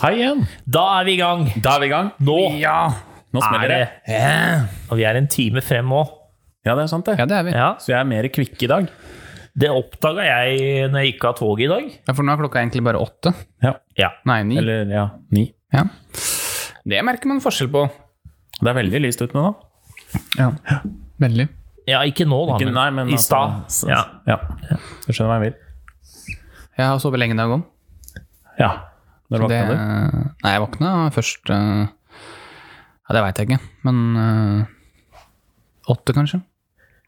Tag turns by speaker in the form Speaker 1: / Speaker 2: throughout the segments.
Speaker 1: Hei igjen.
Speaker 2: Da er vi i gang!
Speaker 1: Da er vi i gang.
Speaker 2: Nå
Speaker 1: Ja. Nå
Speaker 2: er
Speaker 1: smeller
Speaker 2: det
Speaker 1: det.
Speaker 2: Og vi er en time frem òg.
Speaker 1: Ja, det er sant, det.
Speaker 3: Ja, det er vi. Ja.
Speaker 2: Ja.
Speaker 1: Så jeg er mer kvikk i dag.
Speaker 2: Det oppdaga jeg når jeg gikk av toget i dag.
Speaker 3: For nå er klokka egentlig bare åtte.
Speaker 1: Ja.
Speaker 2: Ja.
Speaker 3: Nei, ni.
Speaker 1: Eller ja, ni.
Speaker 3: Ja. Det merker man forskjell på.
Speaker 1: Det er veldig lyst ute nå, da.
Speaker 3: Ja. Veldig.
Speaker 2: ja, ikke nå, da.
Speaker 1: Ikke- nei, men
Speaker 2: I
Speaker 1: altså-
Speaker 2: stad.
Speaker 1: så-
Speaker 2: Ja.
Speaker 1: ja. Du skjønner hva jeg vil.
Speaker 3: Jeg har sovet lenge i dag òg.
Speaker 1: Ja. Når
Speaker 3: Det
Speaker 1: våkna du?
Speaker 3: Nei, jeg våkna først eh, Ja, det veit jeg ikke, men eh, åtte, kanskje.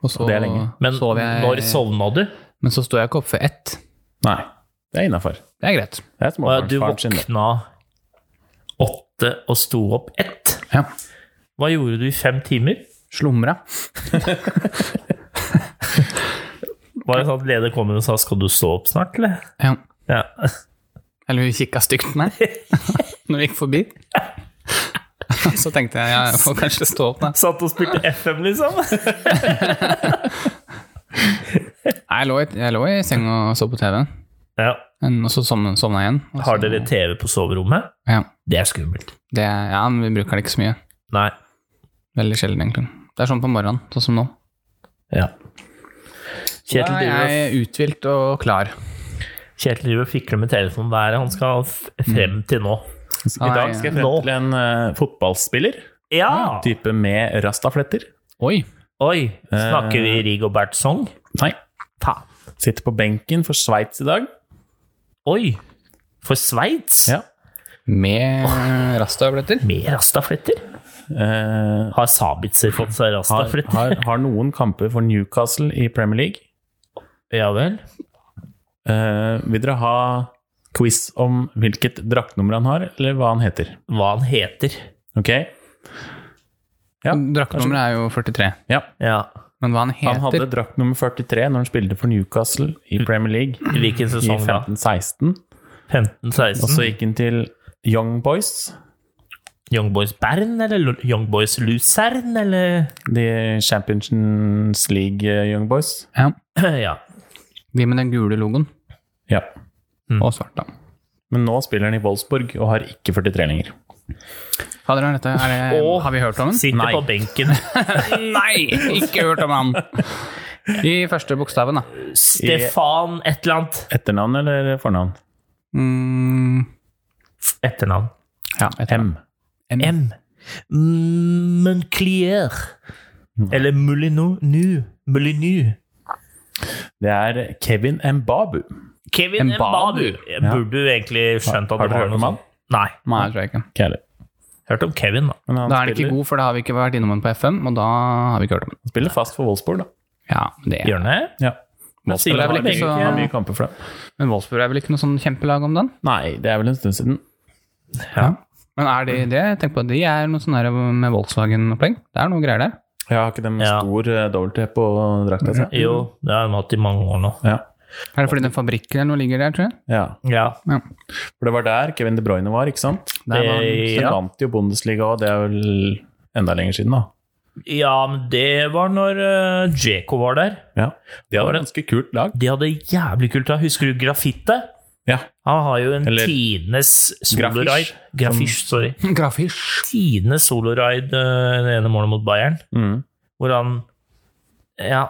Speaker 3: Og så
Speaker 1: Det er lenge.
Speaker 2: Men
Speaker 3: sov jeg
Speaker 2: når sovna du?
Speaker 3: Men så står jeg ikke opp før ett.
Speaker 1: Nei. Det er innafor.
Speaker 3: Det er greit.
Speaker 1: Det er
Speaker 2: Og du
Speaker 1: småbarnsfaren sin, det.
Speaker 2: våkna åtte og sto opp ett.
Speaker 3: Ja.
Speaker 2: Hva gjorde du i fem timer?
Speaker 3: Slumra.
Speaker 2: Var det sånn at leder kom inn og sa 'skal du stå opp snart', eller?
Speaker 3: Ja.
Speaker 2: Ja.
Speaker 3: Eller hun kikka stygt på meg når hun gikk forbi. Så tenkte jeg jeg får kanskje stå opp, da.
Speaker 2: Satt og spilte FM, liksom?
Speaker 3: Nei, Jeg lå, i- jeg lå i seng og så på TV,
Speaker 2: Ja.
Speaker 3: en- og så sovna sovna jeg igjen. og så-
Speaker 2: Har dere TV på soverommet?
Speaker 3: Ja.
Speaker 2: Det er skummelt.
Speaker 3: Det, er- ja, men vi bruker det ikke så mye.
Speaker 2: Nei.
Speaker 3: Veldig sjelden, egentlig. Det er sånn på morgenen, sånn som nå.
Speaker 2: Ja. Kjetil
Speaker 3: Da
Speaker 2: driver
Speaker 3: er
Speaker 2: og
Speaker 3: jeg uthvilt og klar.
Speaker 2: Kjetil driver og fikler med telefonen. Hva er det han skal f-
Speaker 1: Mm.
Speaker 2: frem til nå?
Speaker 1: I dag skal jeg frem
Speaker 2: Nå.
Speaker 1: til en eh, fotballspiller.
Speaker 2: Ja!
Speaker 1: Type med rastafletter.
Speaker 3: Oi!
Speaker 2: Oi, snakker
Speaker 1: Eh.
Speaker 2: vi Rigobert-song?
Speaker 1: Nei.
Speaker 2: Faen.
Speaker 1: Sitter på benken for Sveits i dag.
Speaker 2: Oi! For Sveits?
Speaker 1: Ja.
Speaker 3: Med rastaøvletter.
Speaker 2: Med rastafletter?
Speaker 1: Eh,
Speaker 2: Har Sabitzer fått seg
Speaker 1: har,
Speaker 2: rastafletter?
Speaker 1: har, har noen kamper for Newcastle i Premier League.
Speaker 2: Ja vel.
Speaker 1: Eh, vil dere ha quiz om hvilket draktnummer han har, eller hva han heter?
Speaker 2: Hva han heter.
Speaker 1: Ok? Ja,
Speaker 3: Draktnummeret er jo 43.
Speaker 1: Ja.
Speaker 2: Ja.
Speaker 3: Men hva han heter
Speaker 1: Han hadde draktnummer 43 når han spilte for Newcastle i Premier League
Speaker 2: I hvilken
Speaker 1: i
Speaker 2: sesong Mm. da? Mm.
Speaker 1: 15-16. Og
Speaker 2: 15-16?
Speaker 1: så gikk han til Young Boys,
Speaker 2: Young Boys Bern, eller Lo- Young Boys Luzern, eller
Speaker 1: de Champions League eh, Young Boys.
Speaker 3: ja.
Speaker 2: Ja.
Speaker 3: De med den gule logoen.
Speaker 1: Ja.
Speaker 3: Og svart, da.
Speaker 1: Men nå spiller han i Wolfsburg og har ikke 43 lenger.
Speaker 3: Fader, er dette, er det,
Speaker 2: Åh.
Speaker 3: har vi hørt om den?
Speaker 2: Sitter
Speaker 1: Nei.
Speaker 2: på benken.
Speaker 3: Nei! Ikke hørt om han! I første bokstaven, da.
Speaker 2: Stefan et eller annet.
Speaker 1: Etternavn eller fornavn?
Speaker 3: Mm,
Speaker 2: Etternavn.
Speaker 3: ja, jeg tror-
Speaker 1: M.
Speaker 3: M.
Speaker 2: M. Munclier. Eller Moulinou. Nu. Moulinou.
Speaker 1: Det er Kevin Mbabu.
Speaker 2: Kevin
Speaker 3: Mbabu.
Speaker 2: Mbabu. Jeg burde jo egentlig skjønt at
Speaker 1: Har
Speaker 2: det
Speaker 1: dere
Speaker 2: var
Speaker 1: hørt
Speaker 2: noe
Speaker 1: om
Speaker 2: sånt. Nei.
Speaker 3: Nei, jeg tror jeg ikke.
Speaker 1: Ikke jeg heller.
Speaker 2: Hørt om Kevin, da.
Speaker 1: Men han
Speaker 3: Da er den ikke
Speaker 1: spiller-
Speaker 3: god, for da har vi ikke vært innom den på FM, og da har vi ikke hørt om den.
Speaker 1: Han spiller fast for Wolfsburg, da.
Speaker 3: Ja, det er.
Speaker 2: Hjørne?
Speaker 1: Ja.
Speaker 2: Men
Speaker 1: Wolfsburg
Speaker 2: stiller
Speaker 1: har
Speaker 2: vel
Speaker 1: mye,
Speaker 2: ikke så-
Speaker 1: har mye kamper for dem.
Speaker 3: Men Wolfsburg er vel ikke noe sånn kjempelag om den?
Speaker 1: Nei, det er vel en stund siden.
Speaker 2: Ja.
Speaker 3: Men er de det? Tenk på at de er noe sånn her med Volkswagen-opplegg. Det er noe greier der.
Speaker 1: Ja, har ikke de
Speaker 2: Ja.
Speaker 1: stor eh, dobbelt T på drakta si?
Speaker 2: Jo, det har de hatt i mange år nå.
Speaker 1: Ja.
Speaker 3: Er det fordi den fabrikken eller noe ligger der, tror jeg?
Speaker 1: ja.
Speaker 2: Ja.
Speaker 3: Ja.
Speaker 1: For det var der Kevin De Bruyne var, ikke sant?
Speaker 3: Der var
Speaker 2: Eh,
Speaker 3: den.
Speaker 1: De
Speaker 2: ja.
Speaker 1: vant jo Bundesliga òg, det er vel enda lenger siden, da.
Speaker 2: ja, men det var når uh, Djeko var der.
Speaker 1: Ja. De hadde et ganske kult lag.
Speaker 2: De hadde jævlig kult da. Husker du Graffite?
Speaker 1: Ja.
Speaker 2: Han har jo en
Speaker 1: Eller-
Speaker 2: tidenes soloride. Graffisj, sorry.
Speaker 3: Grafisj.
Speaker 2: Tidenes soloride eh, det ene målet mot Bayern.
Speaker 1: Mm.
Speaker 2: hvor han ja,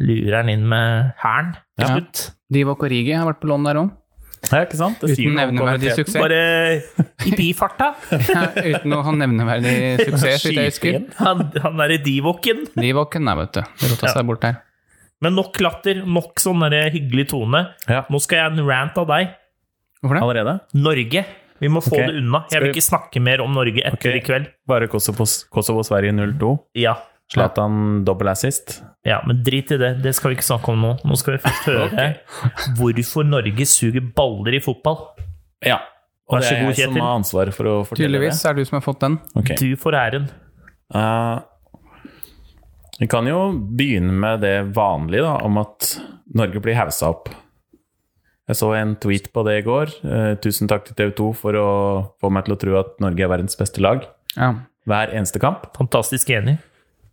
Speaker 2: lurer han inn med hæren til
Speaker 3: Ja.
Speaker 2: slutt.
Speaker 3: Divok og Rigi har vært på lån der òg.
Speaker 1: ja, ikke sant? Det sier
Speaker 3: Uten
Speaker 1: noe om
Speaker 3: nevneverdig
Speaker 1: kvaliteten.
Speaker 3: suksess.
Speaker 2: Bare i bifarta.
Speaker 3: Ja, uten noe sånn nevneverdig suksess, så vidt jeg husker.
Speaker 1: Skyter inn.
Speaker 2: Han, han er i divoken.
Speaker 3: Divoken, nei, vet du. Det rota seg bort der.
Speaker 2: Men nok latter, nok sånn der hyggelig tone.
Speaker 1: Ja.
Speaker 2: Nå skal jeg ha en rant av deg.
Speaker 3: Hvorfor det?
Speaker 1: Allerede?
Speaker 2: Norge. Vi må få
Speaker 1: Ok.
Speaker 2: det unna. Jeg
Speaker 1: Skal vi-
Speaker 2: vil ikke snakke mer om Norge etter
Speaker 1: Ok.
Speaker 2: i kveld.
Speaker 1: Bare Kosovo- Kosovo-Sverige 0-2.
Speaker 2: Ja.
Speaker 1: Zlatan dobbel assist.
Speaker 2: ja, men drit i det. Det skal vi ikke snakke om nå. Nå skal vi først høre hvorfor Norge suger baller i fotball.
Speaker 1: Ja. Og
Speaker 2: Vær
Speaker 1: det
Speaker 2: så
Speaker 1: er
Speaker 2: god,
Speaker 1: jeg som
Speaker 2: Kjetil.
Speaker 1: har ansvaret for å fortelle
Speaker 3: Tydeligvis er det du som har fått den.
Speaker 1: det. Ok.
Speaker 2: Du får æren.
Speaker 1: Eh, Vi kan jo begynne med det vanlige, da, om at Norge blir haussa opp. Jeg så en tweet på det i går. Eh, tusen takk til TV 2 for å få meg til å tro at Norge er verdens beste lag
Speaker 3: Ja.
Speaker 1: hver eneste kamp.
Speaker 2: Fantastisk enig.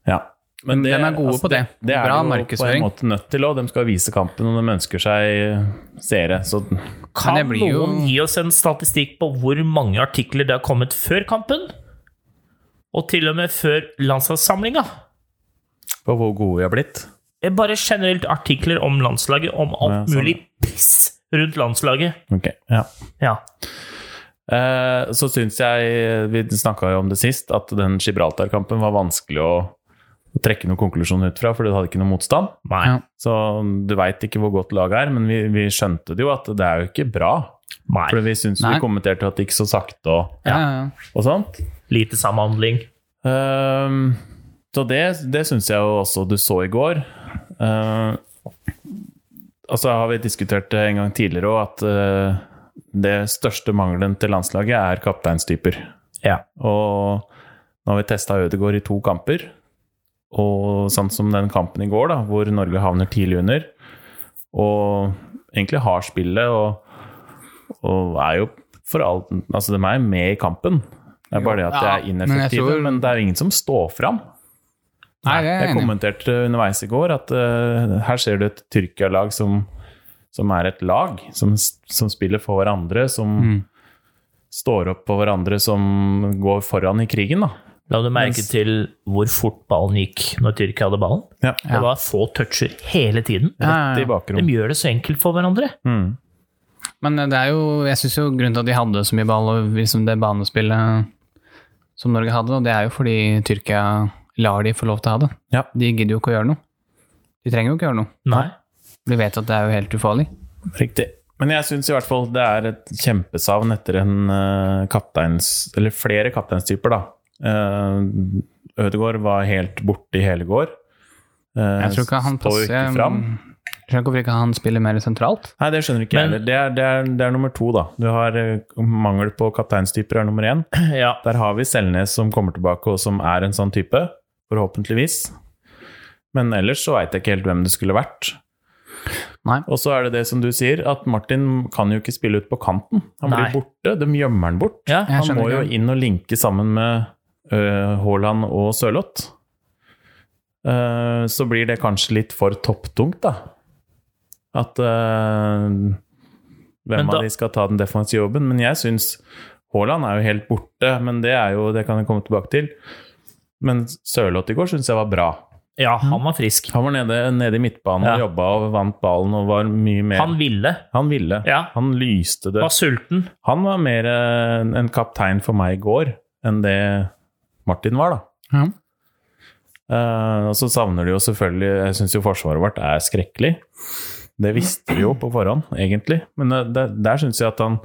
Speaker 1: Ja. Men altså,
Speaker 3: de er gode på det.
Speaker 1: Det, det er
Speaker 3: Bra
Speaker 1: jo
Speaker 3: markedsføring.
Speaker 1: på en måte nødt til òg. De skal vise kampen, og de ønsker seg seere. Så
Speaker 2: Kan
Speaker 3: Men det blir jo-
Speaker 2: noen gi oss en statistikk på hvor mange artikler det har kommet før kampen? Og til og med før landslagssamlinga?
Speaker 1: på hvor gode vi har blitt.
Speaker 2: Eh, Bare generelt artikler om landslaget, om
Speaker 1: Ja,
Speaker 2: alt
Speaker 1: sånn.
Speaker 2: mulig piss rundt landslaget.
Speaker 1: Ok, ja.
Speaker 2: Ja.
Speaker 1: Eh, Så syns jeg, vi snakka jo om det sist, at den Gibraltar-kampen var vanskelig å å trekke noen konklusjon ut fra, for du hadde ikke noe motstand.
Speaker 2: Nei.
Speaker 3: Ja.
Speaker 1: Så du veit ikke hvor godt laget er, men vi, vi skjønte det jo at det er jo ikke bra. For
Speaker 2: Nei.
Speaker 1: vi syns
Speaker 3: Nei.
Speaker 1: vi kommenterte at det gikk så sakte og,
Speaker 3: Ja, ja, ja.
Speaker 1: og sånt.
Speaker 2: Lite samhandling.
Speaker 1: Ehm, så det, det syns jeg jo også du så i går. Ehm, og så Altså, har vi diskutert det en gang tidligere òg, at eh, det største mangelen til landslaget er kapteinstyper.
Speaker 2: Ja.
Speaker 1: Og nå har vi testa Ødegaard i to kamper, og sånn som den kampen i går, da, hvor Norge havner tidlig under, og egentlig har spillet og, og er jo for alt Altså, de er med i kampen. Det er bare det at de
Speaker 3: Ja,
Speaker 1: er
Speaker 3: men jeg
Speaker 1: ineffektive, men,
Speaker 3: tror-
Speaker 1: det er jo ingen som står fram.
Speaker 3: Nei, det er
Speaker 1: Jeg
Speaker 3: jeg enig i.
Speaker 1: kommenterte underveis i går at eh, her ser du et Tyrkia-lag som, som er et lag, som, som spiller for hverandre, som
Speaker 3: Mm.
Speaker 1: står opp for hverandre, som går foran i krigen, da.
Speaker 2: La du merke
Speaker 1: Mens-
Speaker 2: til hvor fort ballen gikk når Tyrkia hadde ballen?
Speaker 1: Ja.
Speaker 2: Det var få toucher hele tiden.
Speaker 3: Ja,
Speaker 1: Rett i
Speaker 3: ja, ja.
Speaker 2: De
Speaker 1: bakrom.
Speaker 2: gjør det så enkelt for hverandre.
Speaker 1: Mm.
Speaker 3: Men det er jo, jeg syns jo grunnen til at de hadde så mye ball, og liksom det banespillet som Norge hadde, og det er jo fordi Tyrkia lar de få lov til å ha det.
Speaker 1: Ja.
Speaker 3: De gidder jo ikke å gjøre noe. De trenger jo ikke å gjøre noe.
Speaker 2: Nei.
Speaker 3: De vet at det er jo helt ufarlig.
Speaker 1: Riktig. Men jeg syns i hvert fall det er et kjempesavn etter en eh, kapteins Eller flere kapteinstyper, da. Eh, Ødegaard var helt borte i hele går. Eh,
Speaker 3: Jeg tror ikke han
Speaker 1: står jo
Speaker 3: passer
Speaker 1: ikke fram.
Speaker 3: Jeg skjønner ikke hvorfor ikke han spiller mer sentralt.
Speaker 1: Nei, det skjønner ikke jeg
Speaker 2: Men-
Speaker 1: heller. Det er, det, er, det er nummer to, da. Du har eh, mangel på kapteinstyper er nummer én.
Speaker 2: Ja.
Speaker 1: Der har vi Selnes som kommer tilbake, og som er en sånn type. Forhåpentligvis. Men ellers så veit jeg ikke helt hvem det skulle vært.
Speaker 3: Nei.
Speaker 1: Og så er det det som du sier, at Martin kan jo ikke spille ut på kanten. Han
Speaker 2: Nei.
Speaker 1: blir borte. De gjemmer han bort.
Speaker 2: ja.
Speaker 3: Jeg
Speaker 1: han må
Speaker 3: skjønner
Speaker 1: jo
Speaker 3: ikke.
Speaker 1: inn og linke sammen med øh, Haaland og Sørloth. Eh, så blir det kanskje litt for topptungt, da. At eh,
Speaker 2: Men
Speaker 1: Hvem
Speaker 2: da-
Speaker 1: av de skal ta den defensive jobben? Men jeg syns Haaland er jo helt borte, men det er jo Det kan jeg komme tilbake til. Men Sørloth i går syns jeg var bra.
Speaker 2: ja, han var frisk.
Speaker 1: Han var nede, nede i midtbanen
Speaker 2: Ja.
Speaker 1: og jobba og vant ballen og var mye mer
Speaker 2: Han
Speaker 1: Han,
Speaker 2: ville.
Speaker 1: ville.
Speaker 2: Ja.
Speaker 1: Han lyste det.
Speaker 2: Var sulten.
Speaker 1: Han var mer eh, en kaptein for meg i går enn det Martin var, da.
Speaker 3: Ja.
Speaker 1: Eh, og så savner de jo selvfølgelig Jeg syns jo forsvaret vårt er skrekkelig. Det visste vi jo på forhånd, egentlig. Men eh, der, der syns jeg at han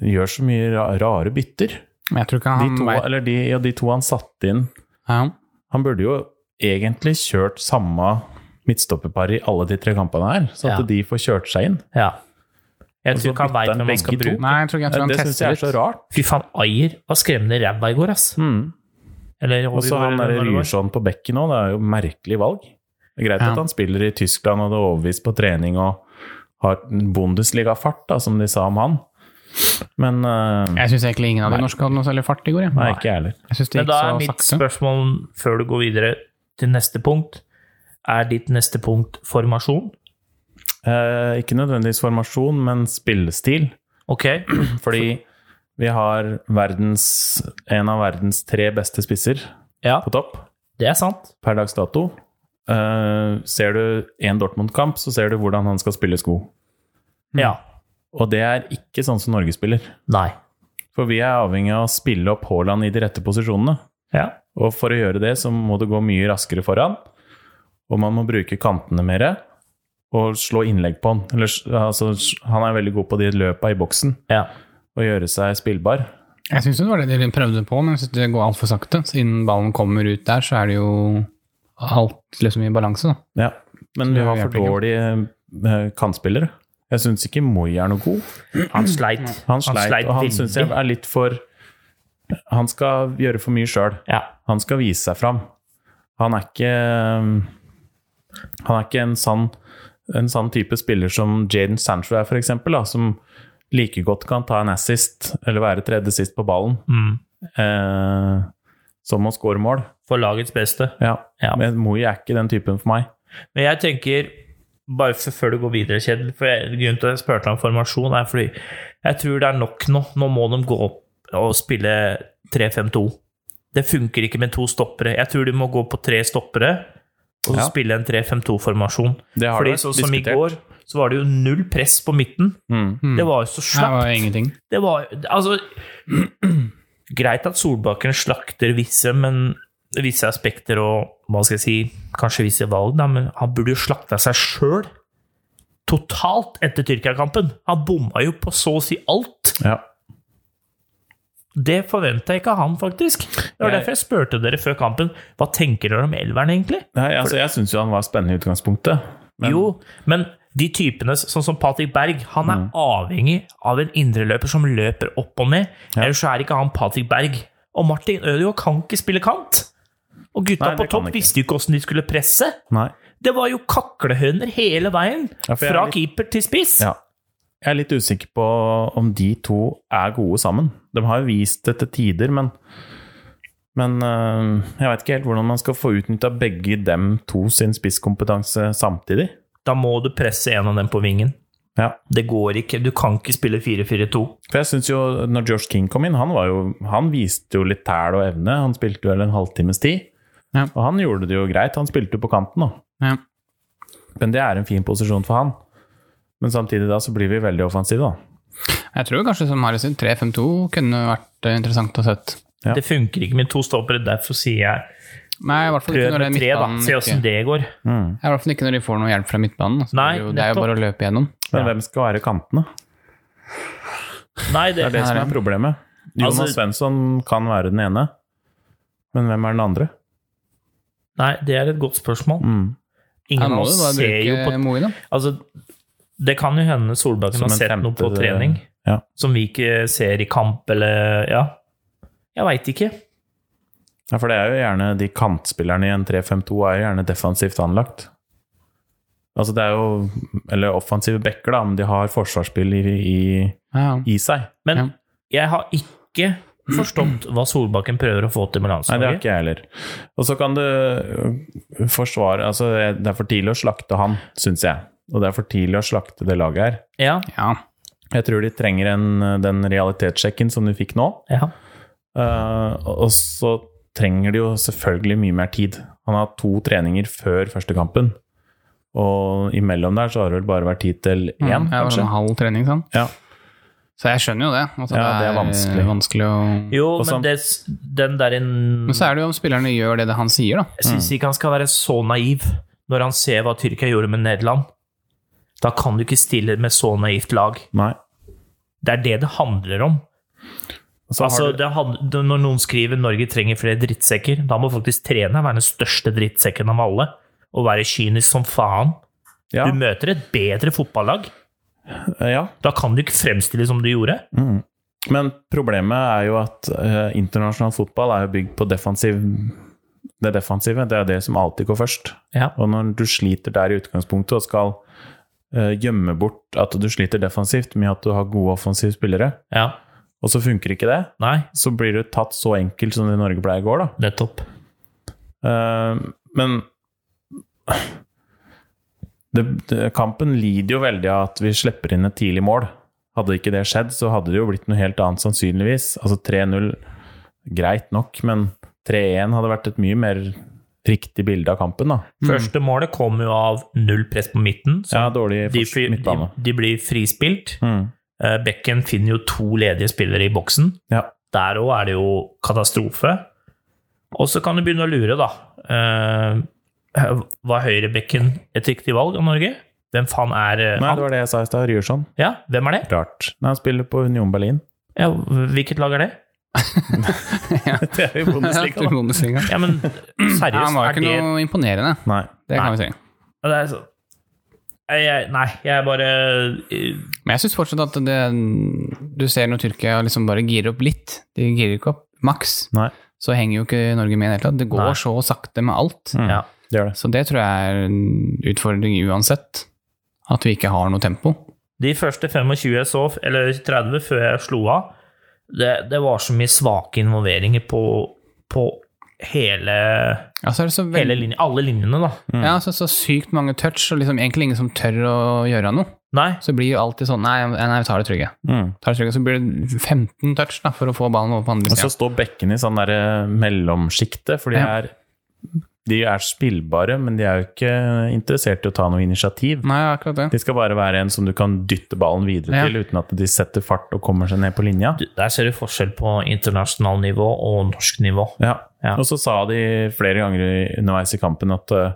Speaker 1: gjør så mye ra- rare bytter.
Speaker 3: Men jeg tror ikke
Speaker 1: De
Speaker 3: han
Speaker 1: to,
Speaker 3: vet-
Speaker 1: eller de, ja, de to han satte inn
Speaker 3: ja.
Speaker 1: Han burde jo egentlig kjørt samme midtstopperpar i alle de tre kampene her, så at
Speaker 2: Ja.
Speaker 1: de får kjørt seg inn.
Speaker 2: Ja. Jeg
Speaker 1: Og
Speaker 2: tror
Speaker 1: så
Speaker 2: ikke han
Speaker 1: bytter
Speaker 2: veit
Speaker 1: han
Speaker 2: hvem han skal
Speaker 1: begge to.
Speaker 2: bruke.
Speaker 3: Nei, jeg tror ikke jeg tror han
Speaker 1: Eh, det syns
Speaker 3: tester
Speaker 1: jeg er
Speaker 3: litt.
Speaker 1: så rart.
Speaker 2: Fy faen, Ayer var skremmende ræva i går, ass.
Speaker 1: Mm.
Speaker 2: Eller,
Speaker 1: Og så han der
Speaker 2: eller- eller-
Speaker 1: Ryerson på bekken òg, det er jo merkelig valg. Det er greit
Speaker 3: Ja.
Speaker 1: at han spiller i Tyskland og det er overbevist på trening og har Bundesliga-fart, da, som de sa om han. Men eh,
Speaker 3: Jeg syns egentlig ingen av de
Speaker 1: Nei.
Speaker 3: norske hadde noe særlig fart i går. Jeg,
Speaker 1: Nei, ikke jeg heller.
Speaker 3: jeg syns det
Speaker 2: Men
Speaker 3: gikk
Speaker 2: da er
Speaker 3: så
Speaker 2: mitt
Speaker 3: sakte.
Speaker 2: spørsmål før du går videre til neste punkt. Er ditt neste punkt formasjon?
Speaker 1: Eh, ikke nødvendigvis formasjon, men spillestil.
Speaker 2: Ok.
Speaker 1: Fordi vi har verdens, en av verdens tre beste spisser
Speaker 2: Ja,
Speaker 1: på topp
Speaker 2: det er sant.
Speaker 1: per dags dato. Eh, ser du en Dortmund-kamp, så ser du hvordan han skal spille sko. Mm.
Speaker 2: Ja.
Speaker 1: Og det er ikke sånn som Norge spiller.
Speaker 2: Nei.
Speaker 1: For vi er avhengig av å spille opp Haaland i de rette posisjonene.
Speaker 2: Ja.
Speaker 1: Og for å gjøre det, så må det gå mye raskere foran. Og man må bruke kantene mer. Og slå innlegg på han. Eller, s- altså, s- han er veldig god på de løpa i boksen.
Speaker 2: ja.
Speaker 1: Og gjøre seg spillbar.
Speaker 3: Jeg syns det var det de prøvde på, men jeg synes det går altfor sakte. Siden ballen kommer ut der, så er det jo alt liksom i balanse, da.
Speaker 1: Ja. Men vi
Speaker 3: Det
Speaker 1: har for
Speaker 3: hjelper ikke.
Speaker 1: dårlige eh, kantspillere. Jeg syns ikke Moi er noe god.
Speaker 2: Han sleit.
Speaker 1: Han sleit, og han syns jeg
Speaker 2: veldig.
Speaker 1: er litt for Han skal gjøre for mye sjøl.
Speaker 2: Ja.
Speaker 1: Han skal vise seg fram. Han er ikke Han er ikke en sann, en sann type spiller som Jaden Sancho er, f.eks., som like godt kan ta en assist eller være tredje sist på ballen.
Speaker 2: Mm.
Speaker 1: Eh, som å score mål.
Speaker 2: for lagets beste.
Speaker 1: Ja.
Speaker 2: Ja.
Speaker 1: Men Moi er ikke den typen for meg.
Speaker 2: Men jeg tenker, bare f- før du går videre, Kjell for jeg, Grunnen til at jeg spurte om formasjon, er fordi jeg tror det er nok nå. Nå må de gå opp og spille 3-5-2. Det funker ikke med to stoppere. Jeg tror de må gå på tre stoppere og så
Speaker 1: Ja.
Speaker 2: spille en 3-5-2-formasjon.
Speaker 1: Det har
Speaker 2: Fordi
Speaker 1: det vært
Speaker 2: sånn som i
Speaker 1: diskutert.
Speaker 2: går, så var det jo null press på midten.
Speaker 1: Mm.
Speaker 2: Det var jo så
Speaker 3: Det
Speaker 2: slapt.
Speaker 3: var jo ingenting.
Speaker 2: Det var Altså Greit at Solbakken slakter visse, men visse aspekter og hva skal jeg si, kanskje visse valg, da, men han burde jo slakta seg sjøl totalt etter Tyrkia-kampen. Han bomma jo på så å si alt.
Speaker 1: Ja.
Speaker 2: Det forventa ikke han, faktisk. Det var
Speaker 1: Jeg-
Speaker 2: derfor jeg spurte dere før kampen hva tenker dere om elveren, egentlig?
Speaker 1: Nei, altså, jeg syns jo han var spennende i utgangspunktet. Men
Speaker 2: jo, men de typene, sånn som Patrick Berg, han
Speaker 1: Mm.
Speaker 2: er avhengig av en indreløper som løper opp og ned. Ellers så er ikke han Patrick Berg. Og Martin Ødegaard kan ikke spille kant! Og gutta
Speaker 1: Nei, det kan
Speaker 2: på
Speaker 1: han
Speaker 2: topp
Speaker 1: ikke.
Speaker 2: visste jo ikke åssen de skulle presse.
Speaker 1: nei.
Speaker 2: Det var jo kaklehøner hele veien!
Speaker 1: Ja, for jeg
Speaker 2: fra
Speaker 1: er litt-
Speaker 2: keeper til spiss.
Speaker 1: Ja. Jeg er litt usikker på om de to er gode sammen. De har jo vist det til tider, men men øh, jeg veit ikke helt hvordan man skal få utnytta begge dem to sin spisskompetanse samtidig.
Speaker 2: Da må du presse en av dem på vingen.
Speaker 1: Ja.
Speaker 2: Det går ikke. Du kan ikke spille 4-4-2.
Speaker 1: For jeg synes jo, når Josh King kom inn, han, var jo, han viste jo litt tæl og evne. Han spilte vel en halvtimes tid.
Speaker 3: Ja.
Speaker 1: Og han gjorde det jo greit. Han spilte jo på kanten, da.
Speaker 3: Ja.
Speaker 1: Men det er en fin posisjon for han. Men samtidig da så blir vi veldig offensive, da.
Speaker 3: Jeg tror kanskje som Harry sier, 3-5-2 kunne vært eh, interessant å sett.
Speaker 1: Ja.
Speaker 2: Det funker ikke med to stoppere, derfor sier jeg
Speaker 3: Nei, i hvert fall ikke
Speaker 2: prøv
Speaker 3: når det
Speaker 2: med
Speaker 3: er
Speaker 2: tre, da.
Speaker 3: midtbanen.
Speaker 2: Se åssen
Speaker 3: ikke-
Speaker 2: det går.
Speaker 1: Mm.
Speaker 3: Ja, I hvert fall ikke når de får noe hjelp fra midtbanen. Så
Speaker 2: Nei,
Speaker 3: det, er jo, det er jo
Speaker 2: nettopp.
Speaker 3: bare å løpe gjennom.
Speaker 1: Men
Speaker 2: Ja.
Speaker 1: hvem skal være kantene?
Speaker 2: Nei, det,
Speaker 1: Det er det som
Speaker 3: Ja,
Speaker 1: er problemet. Jonas
Speaker 2: Altså-
Speaker 1: Svensson kan være den ene, men hvem er den andre?
Speaker 2: nei, det er et godt spørsmål.
Speaker 1: Mm.
Speaker 3: Ja,
Speaker 2: Ingen
Speaker 3: nå
Speaker 2: av
Speaker 3: må du
Speaker 2: oss
Speaker 3: bare
Speaker 2: ser jo på
Speaker 3: bruke Moi, da.
Speaker 2: Altså, det kan jo hende Solbakken
Speaker 1: Som
Speaker 2: har
Speaker 1: en
Speaker 2: sett noe på
Speaker 1: femte-
Speaker 2: trening
Speaker 1: Ja.
Speaker 2: som vi ikke ser i kamp, eller Ja. Jeg veit ikke.
Speaker 1: Ja, for det er jo gjerne de kantspillerne i en 3-5-2 er jo gjerne defensivt anlagt. Altså det er jo Eller offensive backer, da, men de har forsvarsspill i, i,
Speaker 3: Ja,
Speaker 1: i seg.
Speaker 2: Men
Speaker 3: Ja.
Speaker 2: jeg har ikke forstått hva Solbakken prøver å få til med
Speaker 1: Nei, det har
Speaker 2: landslaget.
Speaker 1: ikke jeg heller. Og så kan du øh, forsvare Altså, det er for tidlig å slakte han, syns jeg. Og det er for tidlig å slakte det laget her.
Speaker 2: Ja,
Speaker 3: ja.
Speaker 1: Jeg tror de trenger en, øh, den realitetssjekken som du fikk nå.
Speaker 2: ja.
Speaker 1: Eh, og så trenger de jo selvfølgelig mye mer tid. Han har hatt to treninger før første kampen. Og imellom der så har det vel bare vært tid til
Speaker 3: ja
Speaker 1: én,
Speaker 3: det var
Speaker 1: kanskje.
Speaker 3: sånn halv trening, sant?
Speaker 1: Ja.
Speaker 3: Så jeg skjønner jo det. Altså,
Speaker 1: Ja, det er vanskelig.
Speaker 3: vanskelig å...
Speaker 2: Jo,
Speaker 1: Og så-
Speaker 2: men det, den der
Speaker 3: Men så er det jo om spillerne gjør det, det han sier, da.
Speaker 2: Jeg
Speaker 1: Mm.
Speaker 2: syns ikke han skal være så naiv når han ser hva Tyrkia gjorde med Nederland. Da kan du ikke stille med så naivt lag.
Speaker 1: Nei.
Speaker 2: Det er det det handler om.
Speaker 1: Og så
Speaker 2: altså,
Speaker 1: har du,
Speaker 2: det hand- det- når noen skriver 'Norge trenger flere drittsekker', da må faktisk treneren være den største drittsekken av alle. Og være kynisk som faen.
Speaker 1: ja,
Speaker 2: Du møter et bedre fotballag.
Speaker 1: ja.
Speaker 2: Da kan du ikke fremstille som du gjorde.
Speaker 1: Mm. Men problemet er jo at eh, internasjonal fotball er jo bygd på defensiv det defensive. Det er det som alltid går først.
Speaker 2: Ja.
Speaker 1: Og når du sliter der i utgangspunktet og skal eh, gjemme bort at du sliter defensivt med at du har gode offensive spillere,
Speaker 2: ja.
Speaker 1: og så funker ikke det,
Speaker 2: Nei,
Speaker 1: så blir du tatt så enkelt som det Norge ble i går, da.
Speaker 2: nettopp.
Speaker 1: Eh, men det, det, kampen lider jo veldig av at vi slipper inn et tidlig mål. Hadde ikke det skjedd, så hadde det jo blitt noe helt annet, sannsynligvis. Altså 3-0, greit nok, men 3-1 hadde vært et mye mer riktig bilde av kampen, da.
Speaker 2: Første målet kom jo av null press på midten. Så
Speaker 1: Mm. Ja, dårlig
Speaker 2: de,
Speaker 1: fors-
Speaker 2: fri- de,
Speaker 1: midtbane.
Speaker 2: de blir frispilt.
Speaker 1: Mm.
Speaker 2: Eh, Bekken finner jo to ledige spillere i boksen.
Speaker 1: Ja.
Speaker 2: Der òg er det jo katastrofe. Og så kan du begynne å lure, da. Eh, var høyrebekken et riktig valg av Norge? Hvem faen er eh,
Speaker 1: Nei,
Speaker 2: han?
Speaker 1: det var det jeg sa i stad. Ryerson.
Speaker 2: Ja, hvem er det?
Speaker 1: Rart. Nei, han spiller på Union Berlin.
Speaker 2: Ja, hvilket lag er det?
Speaker 1: Det er jo Bundesliga, da.
Speaker 3: Bundesliga.
Speaker 2: Ja, men
Speaker 3: Ja, han
Speaker 2: seriøst, er
Speaker 3: var jo
Speaker 2: det
Speaker 3: ikke noe imponerende.
Speaker 1: Nei.
Speaker 3: Det kan
Speaker 2: Nei.
Speaker 3: vi si.
Speaker 2: det er så... Nei, jeg, nei, jeg bare eh,
Speaker 3: Men jeg syns fortsatt at det, du ser når Tyrkia liksom bare girer opp litt. De girer ikke opp maks.
Speaker 1: Nei.
Speaker 3: Så henger jo ikke Norge med i det hele tatt. Det går
Speaker 2: Nei.
Speaker 3: så sakte med alt.
Speaker 1: Mm.
Speaker 2: Ja.
Speaker 1: Det gjør det.
Speaker 3: Så det tror jeg er en utfordring uansett. At vi ikke har noe tempo.
Speaker 2: De første 25 jeg så, eller 30 før jeg slo av, det, det var så mye svake involveringer på, på hele,
Speaker 3: Ja, så er det så
Speaker 2: hele
Speaker 3: veldig
Speaker 2: linje, alle linjene, da.
Speaker 1: Mm.
Speaker 3: Ja, så, så sykt mange touch, og liksom egentlig ingen som tør å gjøre noe.
Speaker 2: Nei,
Speaker 3: Så blir jo alltid sånn Nei, nei vi tar det trygge.
Speaker 1: Mm.
Speaker 3: Tar det trygge. Så blir det 15 touch da, for å få ballen over på
Speaker 1: Og
Speaker 3: andre
Speaker 1: så
Speaker 3: sida.
Speaker 1: står bekkene i sånn derre mellomsjiktet, for de
Speaker 3: Ja.
Speaker 1: er de er spillbare, men de er jo ikke interessert i å ta noe initiativ.
Speaker 3: Nei, akkurat det.
Speaker 1: De skal bare være en som du kan dytte ballen videre
Speaker 3: Ja.
Speaker 1: til, uten at de setter fart og kommer seg ned på linja.
Speaker 2: du- der ser du forskjell på internasjonalt nivå og norsk nivå.
Speaker 1: Ja.
Speaker 2: Ja.
Speaker 1: Og så sa de flere ganger i- underveis i kampen at eh,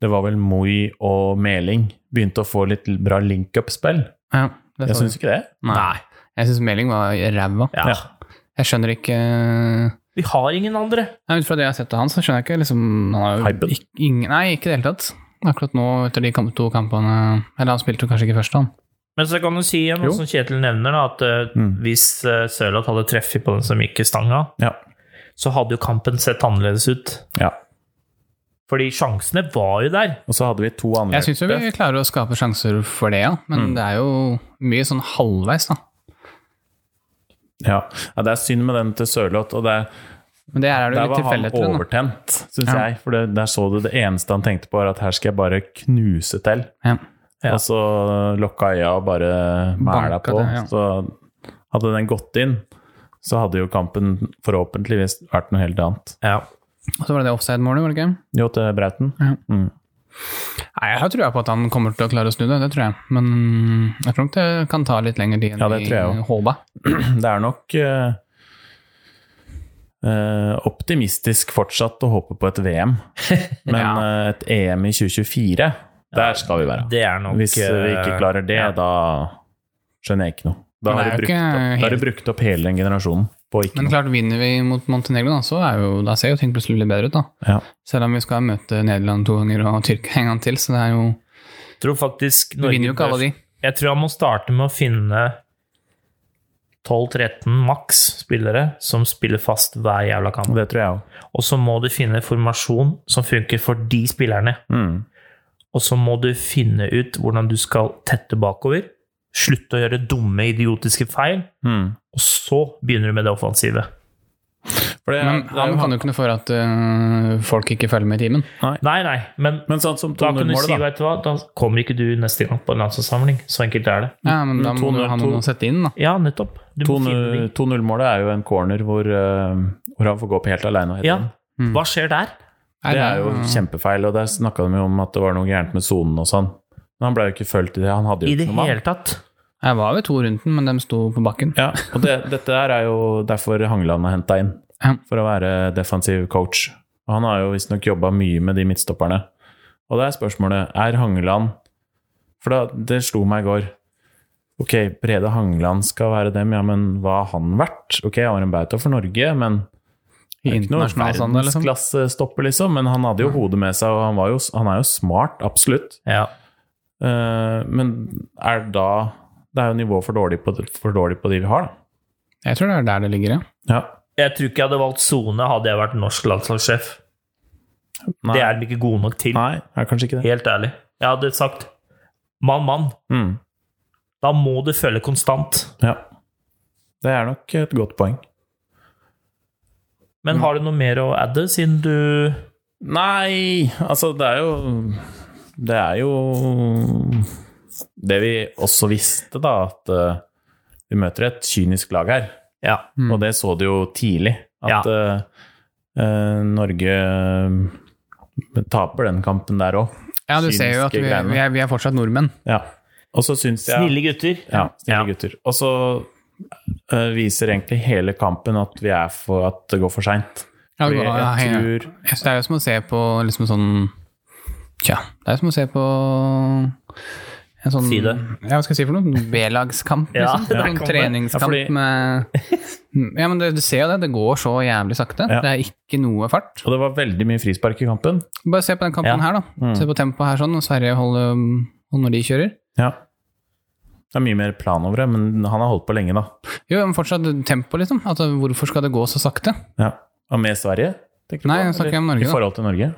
Speaker 1: det var vel Moi og Meling begynte å få litt bra link-up-spill.
Speaker 3: Ja, det
Speaker 1: Jeg
Speaker 3: så
Speaker 1: syns
Speaker 3: vi.
Speaker 1: ikke det.
Speaker 3: Nei. Jeg syns melding var ræva.
Speaker 2: Ja.
Speaker 1: Ja.
Speaker 3: Jeg skjønner ikke Nei,
Speaker 2: Vi har ingen andre.
Speaker 3: Ut fra det jeg har sett av han, så skjønner jeg ikke liksom han har jo
Speaker 1: Hypen.
Speaker 3: ikke- ingen, Nei, ikke i det hele tatt. Akkurat nå, etter de kamp, to kampene Eller han spilte jo kanskje ikke først, han.
Speaker 2: Men så kan du si igjen,
Speaker 1: Jo.
Speaker 2: som Kjetil nevner, da, at eh,
Speaker 1: Mm.
Speaker 2: hvis uh, Sørloth hadde treffet på den som gikk i stanga,
Speaker 1: Ja.
Speaker 2: så hadde jo kampen sett annerledes ut.
Speaker 1: ja.
Speaker 2: Fordi sjansene var jo der.
Speaker 1: Og så hadde vi to andre
Speaker 3: Jeg syns jo vi klarer å skape sjanser for det, ja. Men
Speaker 1: Mm.
Speaker 3: det er jo mye sånn halvveis, da.
Speaker 1: Ja. ja, det er synd med den til Sørloth. Og det,
Speaker 3: Men det her er det
Speaker 1: der
Speaker 3: jo litt
Speaker 1: var han
Speaker 3: tilfeldigheter. igjen, da.
Speaker 1: overtent, syns
Speaker 3: Ja.
Speaker 1: jeg. For det, der så du det eneste han tenkte på, var at her skal jeg bare knuse til.
Speaker 3: Ja.
Speaker 2: Ja.
Speaker 1: Og så lokka øya og bare mæla
Speaker 3: Banka
Speaker 1: på.
Speaker 3: det, ja.
Speaker 1: Så hadde den gått inn, så hadde jo kampen forhåpentligvis vært noe helt annet.
Speaker 2: Ja.
Speaker 3: Og så var det det offside-målet, var det ikke?
Speaker 1: Jo, til Brauten.
Speaker 3: Ja.
Speaker 1: Mm.
Speaker 3: Nei, Jeg har trua på at han kommer til å klare å snu det, det tror jeg. Men jeg tror nok det kan ta litt lengre tid enn
Speaker 1: Ja, det tror jeg
Speaker 3: vi håpa.
Speaker 1: Det er nok eh, eh, optimistisk fortsatt å håpe på et VM, men eh, et EM i 2024, der skal vi være.
Speaker 2: Det er nok
Speaker 1: Hvis eh, vi ikke klarer det,
Speaker 2: ja.
Speaker 1: da skjønner jeg ikke noe. Da
Speaker 3: Men
Speaker 1: har
Speaker 3: det
Speaker 1: du
Speaker 3: er jo
Speaker 1: brukt,
Speaker 3: ikke
Speaker 1: opp- da har du brukt opp hele den generasjonen på ikke
Speaker 3: Men
Speaker 1: noe.
Speaker 3: klart, vinner vi mot Montenegro, da, så er jo, da ser jo ting plutselig litt bedre ut, da.
Speaker 1: Ja.
Speaker 3: Selv om vi skal møte Nederland to ganger og Tyrkia en gang til, så det er jo
Speaker 2: Jeg tror faktisk
Speaker 3: Vi
Speaker 2: Norge
Speaker 3: vinner jo ikke alle
Speaker 2: bør-
Speaker 3: de.
Speaker 2: Jeg tror han må starte med å finne 12-13 maks spillere som spiller fast hver jævla kamp.
Speaker 1: Det tror jeg òg.
Speaker 2: Og så må du finne formasjon som funker for de spillerne.
Speaker 1: Mm.
Speaker 2: Og så må du finne ut hvordan du skal tette bakover. Slutte å gjøre dumme, idiotiske feil.
Speaker 1: Mm.
Speaker 2: Og så begynner du med det offensive.
Speaker 1: For det,
Speaker 3: Men
Speaker 1: det er
Speaker 3: han
Speaker 1: jo
Speaker 3: kan jo ikke noe for at øh, folk ikke følger med i timen.
Speaker 2: Nei, nei, men
Speaker 1: Men sånn som
Speaker 2: da kan du si,
Speaker 1: 2-0-målet, da.
Speaker 2: vet du hva, da kommer ikke du neste gang på en landslagssamling. Så enkelt er det.
Speaker 3: Ja, men da må
Speaker 1: Men
Speaker 3: du ha noen
Speaker 1: 2-0-2
Speaker 3: å sette inn, da.
Speaker 2: Ja, nettopp. Du må finne de.
Speaker 1: 2-0 2-0-målet er jo en corner hvor, eh, hvor han får gå opp helt aleine og hete
Speaker 2: Ja.
Speaker 1: den.
Speaker 3: Mm.
Speaker 2: Hva skjer der?
Speaker 3: Nei,
Speaker 1: Det er jo
Speaker 3: øh,
Speaker 1: kjempefeil, og der snakka de jo om at det var noe gærent med sonen og sånn. Men han ble jo ikke fulgt i det. Han hadde jo
Speaker 2: I det
Speaker 1: ikke noe mann.
Speaker 2: hele tatt.
Speaker 3: Jeg var ved to rundt den, men de sto på bakken.
Speaker 1: Ja, og det, dette her er jo derfor Hangeland er henta inn.
Speaker 3: Ja.
Speaker 1: For å være defensiv coach. Og han har jo visstnok jobba mye med de midtstopperne. Og det er spørsmålet Er Hangeland For da, det slo meg i går. Ok, Brede Hangeland skal være dem, ja, men hva har han vært? Ok, han var en bauta for Norge, men
Speaker 3: I
Speaker 1: det er ikke noe
Speaker 3: internasjonal standard, liksom.
Speaker 1: verdensklassestopper, liksom. Men han hadde jo hodet med seg, og han, var jo, han er jo smart, absolutt.
Speaker 2: Ja.
Speaker 1: Eh, men er da Det er jo nivået for dårlig på, for dårlig på de vi har, da.
Speaker 3: Jeg tror det er der det ligger, ja.
Speaker 1: Ja.
Speaker 2: Jeg tror ikke jeg hadde valgt sone hadde jeg vært norsk landslagssjef.
Speaker 1: Nei.
Speaker 2: Det er de ikke gode nok til.
Speaker 1: Nei, er kanskje ikke det.
Speaker 2: Helt ærlig. Jeg hadde sagt mann, mann.
Speaker 1: Mm,
Speaker 2: Da må du følge konstant.
Speaker 1: ja. Det er nok et godt poeng.
Speaker 2: Men
Speaker 3: Mm.
Speaker 2: har du noe mer å adde, siden du
Speaker 1: Nei, altså det er jo Det er jo det vi også visste, da, at eh, vi møter et kynisk lag her.
Speaker 2: Ja.
Speaker 1: Og det så du jo tidlig, at eh, eh, Norge eh, taper den kampen der òg.
Speaker 3: Ja, du ser jo at vi,
Speaker 1: Kyniske greiene.
Speaker 3: vi, er, vi er fortsatt nordmenn.
Speaker 1: Ja. Og så syns jeg
Speaker 2: Snille gutter.
Speaker 1: Ja, snille
Speaker 2: Ja.
Speaker 1: gutter. Og så eh, viser egentlig hele kampen at, vi er for, at det går for seint.
Speaker 3: Ja, det
Speaker 1: Fordi
Speaker 3: går-
Speaker 1: jeg
Speaker 3: ja, jeg-
Speaker 1: tror
Speaker 3: jeg synes Det er jo som å se på liksom sånn Tja, det er som å se på en sånn
Speaker 2: Si det.
Speaker 3: Ja, hva skal jeg si for noe? B-lagskamp,
Speaker 2: Ja,
Speaker 3: liksom.
Speaker 2: der
Speaker 3: En
Speaker 2: kom det.
Speaker 1: Ja,
Speaker 3: treningskamp
Speaker 1: fordi-
Speaker 3: med Mm, Ja, men du, du ser jo det. Det går så jævlig sakte.
Speaker 1: Ja.
Speaker 3: Det er ikke noe fart.
Speaker 1: Og det var veldig mye frispark i kampen.
Speaker 3: Bare se på den kampen
Speaker 2: Ja. Mm.
Speaker 3: her, da. Se på tempoet her sånn, og Sverige holder og når de kjører.
Speaker 1: Ja. Det er mye mer plan over det, men han har holdt på lenge, da.
Speaker 3: Jo, men fortsatt tempo, liksom. Altså, hvorfor skal det gå så sakte?
Speaker 1: Ja. Og med Sverige? tenker du
Speaker 3: Nei,
Speaker 1: på,
Speaker 3: jeg snakker
Speaker 1: eller?
Speaker 3: om Norge,
Speaker 1: I
Speaker 3: da.
Speaker 1: forhold til Norge?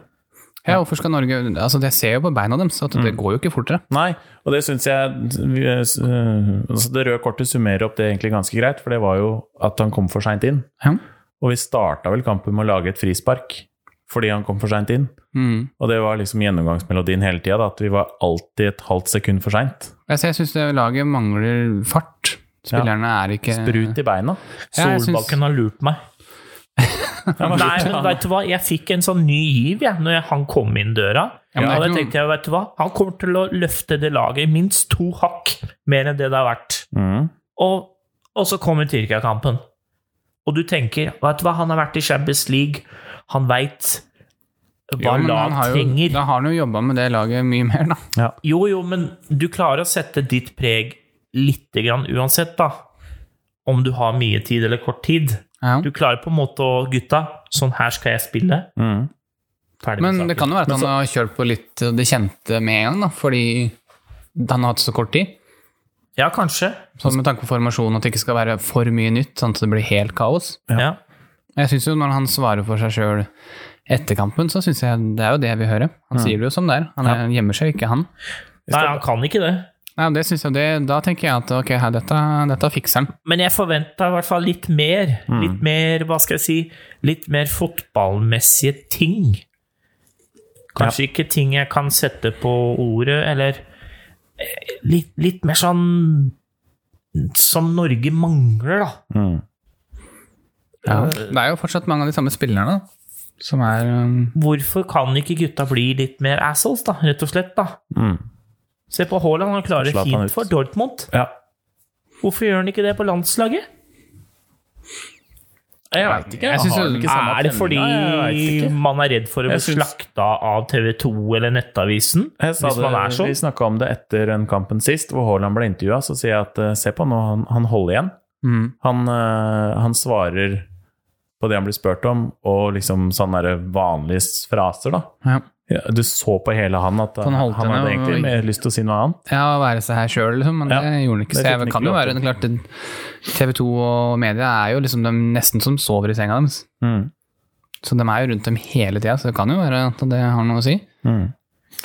Speaker 3: Ja, hvorfor skal Norge Altså, jeg ser jo på beina deres at
Speaker 2: Mm.
Speaker 3: det går jo ikke fortere.
Speaker 1: Nei, og det syns jeg vi- eh, s- eh, altså Det røde kortet summerer opp det egentlig ganske greit, for det var jo at han kom for seint inn.
Speaker 3: Ja.
Speaker 1: Og vi starta vel kampen med å lage et frispark fordi han kom for seint inn.
Speaker 3: Mm.
Speaker 1: Og det var liksom gjennomgangsmelodien hele tida, at vi var alltid et halvt sekund for seint.
Speaker 3: Altså, jeg syns laget mangler fart. Spillerne er ikke
Speaker 1: Sprut i beina.
Speaker 3: Ja, jeg syns-
Speaker 2: Solbakken har lurt meg. Nei, men vet du hva? Jeg fikk en sånn ny giv jeg, når jeg- han kom inn døra.
Speaker 3: Ja, men det er
Speaker 2: og da
Speaker 3: ikke noe-
Speaker 2: tenkte jeg, vet du hva? Han kommer til å løfte det laget minst to hakk mer enn det det har vært.
Speaker 1: Mm.
Speaker 2: Og, og så kommer Tyrkia-kampen. Og du tenker, vet du hva? Han har vært i Champions League. Han veit
Speaker 3: Jo,
Speaker 2: hva
Speaker 3: men han
Speaker 2: lag
Speaker 3: har jo-
Speaker 2: trenger.
Speaker 3: Da har han jo jobba med det laget mye mer, da.
Speaker 2: Jo, jo, men du klarer å sette ditt preg lite grann uansett, da. Om du har mye tid eller kort tid.
Speaker 3: Ja.
Speaker 2: Du klarer på en måte å Gutta, sånn her skal jeg spille.
Speaker 1: Mm.
Speaker 2: Ferdig med
Speaker 3: Men
Speaker 2: saken.
Speaker 3: det kan jo være at han har kjørt på litt det kjente med en gang, da, fordi han har hatt så kort tid.
Speaker 2: Ja, kanskje.
Speaker 3: Sånn med tanke på formasjonen, at det ikke skal være for mye nytt, sånn at det blir helt kaos.
Speaker 2: Ja.
Speaker 3: Jeg syns jo når han svarer for seg sjøl etter kampen, så syns jeg det er jo det jeg vil høre.
Speaker 2: Mm.
Speaker 3: Han sier det jo som det er. Han er- gjemmer seg jo ikke, han.
Speaker 2: Nei, han kan ikke det.
Speaker 3: Nei, det synes jeg, det, Da tenker jeg at ok, her, dette, dette fikser han.
Speaker 2: Men jeg forventa i hvert fall litt mer.
Speaker 1: Mm.
Speaker 2: Litt mer, hva skal jeg si Litt mer fotballmessige ting. Kanskje ikke ting jeg kan sette på ordet, eller eh, litt, litt mer sånn Som Norge mangler, da.
Speaker 1: Mm.
Speaker 3: Eh, Det er jo fortsatt mange av de samme spillerne da, som er um,
Speaker 2: Hvorfor kan ikke gutta bli litt mer assholes, da? Rett og slett, da.
Speaker 1: Mm.
Speaker 2: Se på Haaland, han klarer
Speaker 1: Slapp han ut.
Speaker 2: fint for Dortmund.
Speaker 1: Ja.
Speaker 2: Hvorfor gjør han ikke det på landslaget?
Speaker 1: Jeg veit ikke.
Speaker 3: Jeg synes
Speaker 1: har
Speaker 3: jo-
Speaker 1: vel ikke samme
Speaker 2: Er det
Speaker 1: tenna?
Speaker 2: fordi
Speaker 1: Jeg vet ikke.
Speaker 2: man er redd for å bli
Speaker 1: Jeg syns-
Speaker 2: slakta av TV 2 eller Nettavisen?
Speaker 1: Jeg sa
Speaker 2: Hvis man er
Speaker 1: det,
Speaker 2: sånn?
Speaker 1: vi snakka om det etter den kampen sist, hvor Haaland ble intervjua. Så sier jeg at eh, se på nå, han, han holder igjen.
Speaker 3: mm.
Speaker 1: Han, eh, han svarer på det han blir spurt om, og liksom sånne der vanlige fraser, da.
Speaker 3: ja.
Speaker 1: Ja, du så på hele han at eh,
Speaker 3: Han
Speaker 1: han,
Speaker 3: holdt henne
Speaker 1: hadde egentlig
Speaker 3: og-
Speaker 1: mer lyst til å si noe annet.
Speaker 3: ja, å være seg her sjøl, liksom, men
Speaker 1: Ja,
Speaker 3: det gjorde han
Speaker 1: det
Speaker 3: ikke.
Speaker 1: fikk
Speaker 3: Så
Speaker 1: han
Speaker 3: jeg kan
Speaker 1: ikke
Speaker 3: jo
Speaker 1: lov
Speaker 3: være
Speaker 1: til.
Speaker 3: det er klart det- TV 2 og media er jo liksom de nesten som sover i senga deres.
Speaker 1: Mm.
Speaker 3: Så de er jo rundt dem hele tida, så det kan jo være at det har noe å si.
Speaker 1: Mm.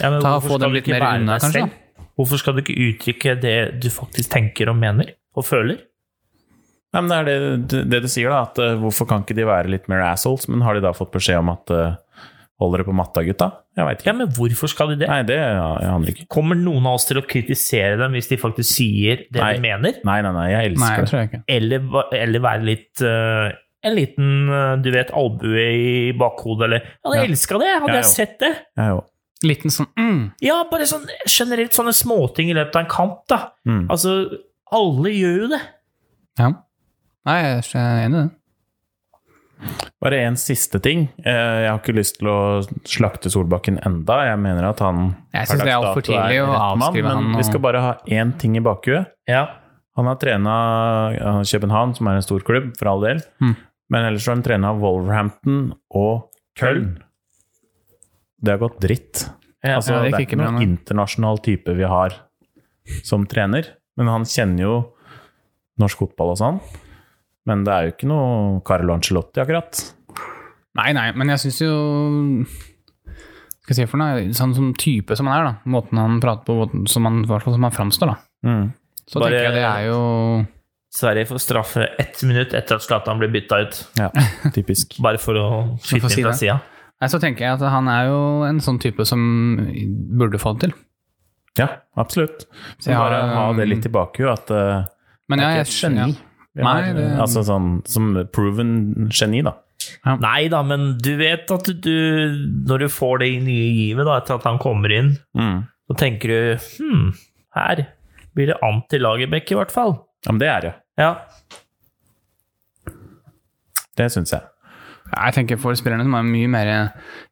Speaker 2: Ja, men
Speaker 3: Ta
Speaker 2: hvorfor
Speaker 3: Få
Speaker 2: skal
Speaker 3: dem
Speaker 2: du
Speaker 3: litt
Speaker 2: ikke
Speaker 3: mer
Speaker 2: være
Speaker 3: unna,
Speaker 2: deg
Speaker 3: kanskje.
Speaker 2: selv? Hvorfor skal du ikke uttrykke det du faktisk tenker og mener og føler?
Speaker 1: Nei, men det er det, det du sier, da. At eh, hvorfor kan ikke de være litt mer assholes? Men har de da fått beskjed om at eh, Hold dere på matta, gutta? Jeg veit ikke.
Speaker 2: Ja, men hvorfor skal de det?
Speaker 1: Nei, det ja, jeg handler ikke.
Speaker 2: Kommer noen av oss til å kritisere dem hvis de faktisk sier det
Speaker 1: Nei.
Speaker 2: de mener?
Speaker 1: Nei, nei, nei, jeg
Speaker 3: Nei,
Speaker 1: elsker
Speaker 3: det tror jeg ikke.
Speaker 2: Eller, va- eller være litt eh, En liten, eh, du vet, albue i bakhodet, eller Jeg hadde
Speaker 3: Ja.
Speaker 2: elsket elska det! Hadde
Speaker 1: Jeg
Speaker 2: jeg
Speaker 1: òg.
Speaker 2: sett det!
Speaker 1: det. Jeg òg.
Speaker 3: Liten sånn mm.
Speaker 2: Ja, bare sånn generelt sånne småting i løpet av en kamp, da.
Speaker 1: Mm.
Speaker 2: Altså, alle gjør jo det.
Speaker 3: Ja. Nei, jeg er enig i det.
Speaker 1: Bare en siste ting. Eh, Jeg har ikke lyst til å slakte Solbakken enda. Jeg mener at han
Speaker 3: Jeg synes det er alt for
Speaker 1: per dags dato
Speaker 3: tidlig å
Speaker 1: rett mann,
Speaker 3: avskrive
Speaker 1: men
Speaker 3: han og-
Speaker 1: Vi skal bare ha én ting i bakhuet.
Speaker 2: Ja.
Speaker 1: Han har trena eh, København, som er en stor klubb, for all del.
Speaker 3: Mm.
Speaker 1: Men ellers har han trena Wolverhampton og Köln. Det har gått dritt. Altså,
Speaker 3: ja,
Speaker 1: det,
Speaker 3: det
Speaker 1: er
Speaker 3: gikk
Speaker 1: ikke
Speaker 3: ikke bra,
Speaker 1: noen
Speaker 3: nei.
Speaker 1: internasjonal type vi har som trener. Men han kjenner jo norsk fotball og sånn. Men det er jo ikke noe Carlo Ancelotti, akkurat.
Speaker 3: Nei, nei, men jeg syns jo Skal jeg si for noe? Sånn som type som han er, da. Måten han prater på, måten som han, i hvert fall som han framstår, da.
Speaker 1: Mm.
Speaker 3: Så
Speaker 2: Bare-
Speaker 3: tenker jeg det er jo
Speaker 2: Sverige får straffe ett minutt etter at Zlatan ble bytta ut.
Speaker 1: Ja, typisk.
Speaker 2: Bare for å
Speaker 3: for
Speaker 2: skyte
Speaker 3: å si
Speaker 2: inn fra
Speaker 3: det.
Speaker 2: sida.
Speaker 3: Nei, så tenker jeg at han er jo en sånn type som burde få det til.
Speaker 1: Ja, absolutt. Så
Speaker 3: Jeg har,
Speaker 1: bare ha det litt i bakhuet at eh,
Speaker 3: um, Men ja,
Speaker 1: ikke
Speaker 3: jeg
Speaker 1: et geni.
Speaker 3: Ja.
Speaker 1: vi har,
Speaker 3: Nei, det-
Speaker 1: Altså sånn som proven geni, da.
Speaker 2: Nei da, men du vet at du Når du får det i nye givet da, etter at han kommer inn,
Speaker 1: Mm.
Speaker 2: så tenker du Hm, her blir det anti-Lagerbäck, i hvert fall.
Speaker 1: Ja, men det er det.
Speaker 2: Ja.
Speaker 1: Det syns jeg.
Speaker 3: Jeg tenker for spillerne som er det mye mer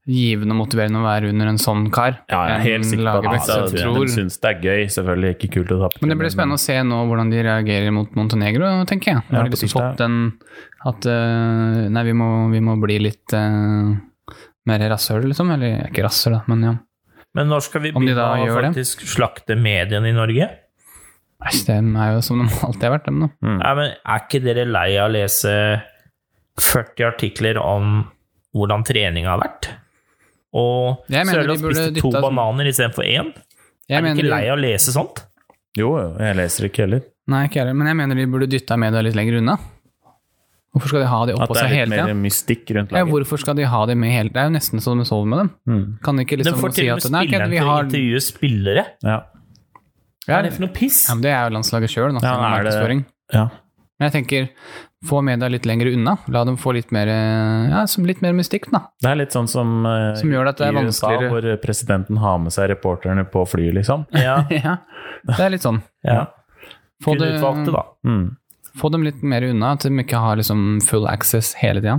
Speaker 3: givende og motiverende å være under en sånn kar.
Speaker 1: Ja, jeg er
Speaker 3: enn
Speaker 1: helt sikker på
Speaker 3: Lagerbäck,
Speaker 1: at
Speaker 3: så
Speaker 1: altså,
Speaker 3: jeg
Speaker 1: de
Speaker 3: tror.
Speaker 1: syns det er gøy. Selvfølgelig ikke kult å tape.
Speaker 3: Men det blir spennende å se nå hvordan de reagerer mot Montenegro, tenker jeg. Nå
Speaker 1: Ja,
Speaker 3: har de
Speaker 1: på
Speaker 3: liksom
Speaker 1: tirsdag.
Speaker 3: fått den at eh, Nei, vi må, vi må bli litt eh, mer rasshøl, liksom. Eller ikke rasshøl, da, men ja.
Speaker 2: Men når skal vi
Speaker 3: Om de
Speaker 2: begynne
Speaker 3: da
Speaker 2: å
Speaker 3: gjør det?
Speaker 2: faktisk slakte mediene i Norge?
Speaker 3: Æsj, de er jo som de alltid har vært, dem, da.
Speaker 2: Nei, men er ikke dere lei av å lese 40 artikler om hvordan trening har vært? Og
Speaker 3: Jeg mener
Speaker 2: Sørloth
Speaker 3: de burde
Speaker 2: spiste to
Speaker 3: dytta-
Speaker 2: bananer istedenfor én?
Speaker 3: Jeg
Speaker 2: er du
Speaker 3: mener-
Speaker 2: ikke lei av å lese sånt?
Speaker 1: Jo, jo, jeg leser ikke heller.
Speaker 3: Nei, ikke jeg heller, men jeg mener de burde dytta media litt lenger unna. Hvorfor skal de ha de
Speaker 1: At
Speaker 3: oppå
Speaker 1: det er
Speaker 3: seg
Speaker 1: litt
Speaker 3: hele
Speaker 1: mer
Speaker 3: tida?
Speaker 1: mystikk rundt
Speaker 3: Ja,
Speaker 1: laget.
Speaker 3: hvorfor skal de ha de med hele Det er jo nesten så de sover med dem.
Speaker 1: Mm.
Speaker 3: Kan de ikke
Speaker 2: De
Speaker 3: liksom
Speaker 2: får
Speaker 3: si
Speaker 2: til og
Speaker 3: at
Speaker 2: med
Speaker 3: Nei,
Speaker 2: spilleren
Speaker 3: ok, vi
Speaker 2: til å
Speaker 3: har
Speaker 2: intervjue spillere.
Speaker 1: Ja.
Speaker 2: Hva
Speaker 3: ja,
Speaker 2: er det for noe piss?
Speaker 3: ja, men Det er jo landslaget sjøl, da.
Speaker 1: Ja, er det-
Speaker 3: markedsføring.
Speaker 1: ja.
Speaker 3: Men jeg tenker, få media litt lenger unna. La dem få litt mer, eh, ja, som litt mer mystikk, da.
Speaker 1: Det er litt sånn som, eh,
Speaker 3: Som gjør at det er
Speaker 1: i USA,
Speaker 3: vanskeligere.
Speaker 1: hvor eh, presidenten har med seg reporterne på flyet, liksom.
Speaker 2: Ja,
Speaker 3: Ja, det er litt sånn.
Speaker 2: ja.
Speaker 3: Få,
Speaker 2: Kun
Speaker 3: det-
Speaker 2: utvalgte, da.
Speaker 1: Mm.
Speaker 3: få dem litt mer unna, at de ikke har liksom full access hele tida.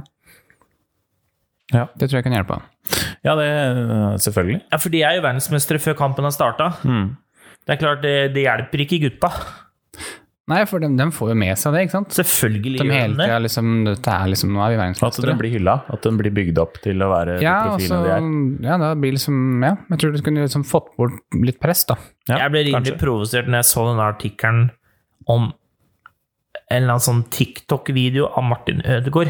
Speaker 1: Ja.
Speaker 3: Det tror jeg kan hjelpe.
Speaker 1: Ja, det eh, selvfølgelig.
Speaker 2: Ja, for de er jo verdensmestere før kampen har starta.
Speaker 1: Mm.
Speaker 2: Det er klart, det, det hjelper ikke gutta.
Speaker 3: Nei, for de, de får jo med seg det, ikke sant?
Speaker 2: Selvfølgelig
Speaker 3: De
Speaker 2: gjør
Speaker 3: hele
Speaker 2: de det.
Speaker 3: tida liksom Dette er liksom Nå er vi
Speaker 1: At den
Speaker 3: verdensmestere.
Speaker 1: blir hylla. At den blir bygd opp til å være
Speaker 3: Ja,
Speaker 1: de
Speaker 3: altså, og så
Speaker 1: profilene de er.
Speaker 3: Ja, da blir liksom Ja, jeg tror du kunne liksom fått bort litt press, da.
Speaker 1: Ja,
Speaker 2: Jeg ble rimelig
Speaker 1: kanskje.
Speaker 2: provosert når jeg så den artikkelen om en eller annen sånn TikTok-video av Martin Ødegaard.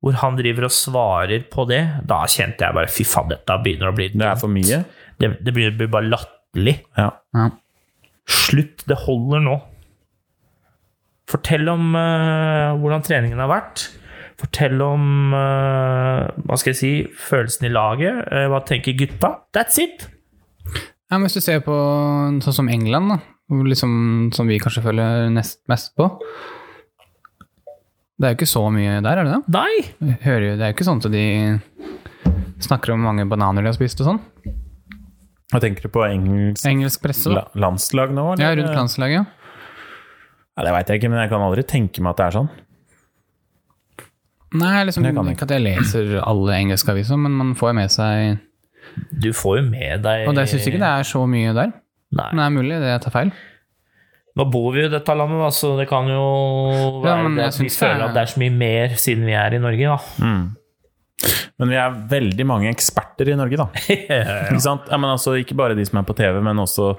Speaker 2: Hvor han driver og svarer på det. Da kjente jeg bare fy faen, dette begynner å bli
Speaker 1: Det er for mye.
Speaker 2: Det, det blir, blir bare latterlig.
Speaker 1: Ja.
Speaker 3: Ja.
Speaker 2: Slutt, det holder nå. Fortell om eh, hvordan treningen har vært. Fortell om eh, hva skal jeg si, følelsen i laget. Eh, hva tenker gutta? That's it!
Speaker 3: Ja, men Hvis du ser på sånn som England, da, hvor liksom, som vi kanskje følger nest mest på Det er jo ikke så mye der, er det det?
Speaker 2: Nei!
Speaker 3: Jeg Hører jo, det er jo ikke sånn at de snakker om hvor mange bananer de har spist og sånn.
Speaker 1: Hva tenker du på engelsk
Speaker 3: Engelsk presse, da.
Speaker 1: la, landslag nå?
Speaker 3: Ja, rundt landslaget.
Speaker 1: Ja, det veit jeg ikke, men jeg kan aldri tenke meg at det er sånn.
Speaker 3: Nei, liksom,
Speaker 1: Det kan jeg
Speaker 3: ikke at jeg leser alle engelske aviser, men man får jo med seg
Speaker 2: Du får jo med deg
Speaker 3: Og det syns jeg ikke det er så mye der. Men
Speaker 2: Nei.
Speaker 3: det er mulig, det jeg tar feil.
Speaker 2: Nå bor vi jo i dette landet, da, så det kan jo
Speaker 3: Ja,
Speaker 2: være
Speaker 3: men
Speaker 2: det
Speaker 3: jeg
Speaker 2: at vi
Speaker 3: synes det er-
Speaker 2: føler at det er så mye mer siden vi er i Norge, da.
Speaker 1: Men vi er veldig mange eksperter i Norge, da. Ikke sant? Ja, men altså, ikke bare de som er på TV, men også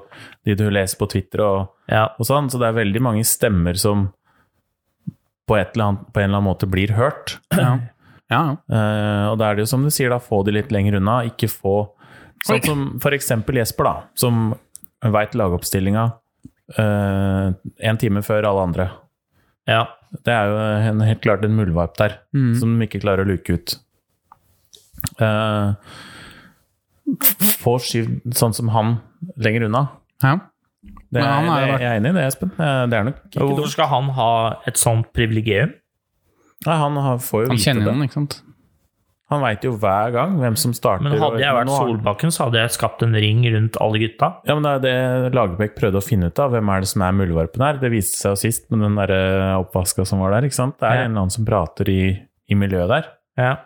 Speaker 1: de du leser på Twitter og,
Speaker 2: ja.
Speaker 1: og sånn. Så det er veldig mange stemmer som på, et eller annet, på en eller annen måte blir hørt.
Speaker 3: Ja, ja. ja.
Speaker 1: Eh, og da er det jo som du sier, da, få de litt lenger unna. Ikke få
Speaker 2: Oi.
Speaker 1: Sånn som for eksempel Jesper, da. Som veit lagoppstillinga én time før alle andre.
Speaker 2: ja.
Speaker 1: Det er jo en, helt klart en muldvarp der,
Speaker 3: Mm.
Speaker 1: som de ikke klarer å luke ut. Eh, få skyvd sånn som han lenger unna.
Speaker 3: ja.
Speaker 1: Det
Speaker 3: Men
Speaker 1: er,
Speaker 3: han er jo
Speaker 1: det,
Speaker 3: vært-
Speaker 1: jeg er enig i det, Espen. Eh, Det er nok ikke
Speaker 2: Hvorfor
Speaker 1: dumt.
Speaker 2: skal han ha et sånt privilegium?
Speaker 1: Nei, han har- får jo
Speaker 3: Han
Speaker 1: vite
Speaker 3: kjenner
Speaker 1: det.
Speaker 3: jo den, ikke sant.
Speaker 1: Han veit jo hver gang hvem som starter.
Speaker 2: Men hadde
Speaker 1: og-
Speaker 2: jeg vært
Speaker 1: Nå har-
Speaker 2: Solbakken, så hadde jeg skapt en ring rundt alle gutta.
Speaker 1: Ja, men det er det Lagerbäck prøvde å finne ut av. Hvem er det som er muldvarpen her? Det viste seg jo sist med den der eh, oppvaska som var der. ikke sant? Det er
Speaker 2: Ja.
Speaker 1: en eller annen som prater i, i miljøet der.
Speaker 2: Ja.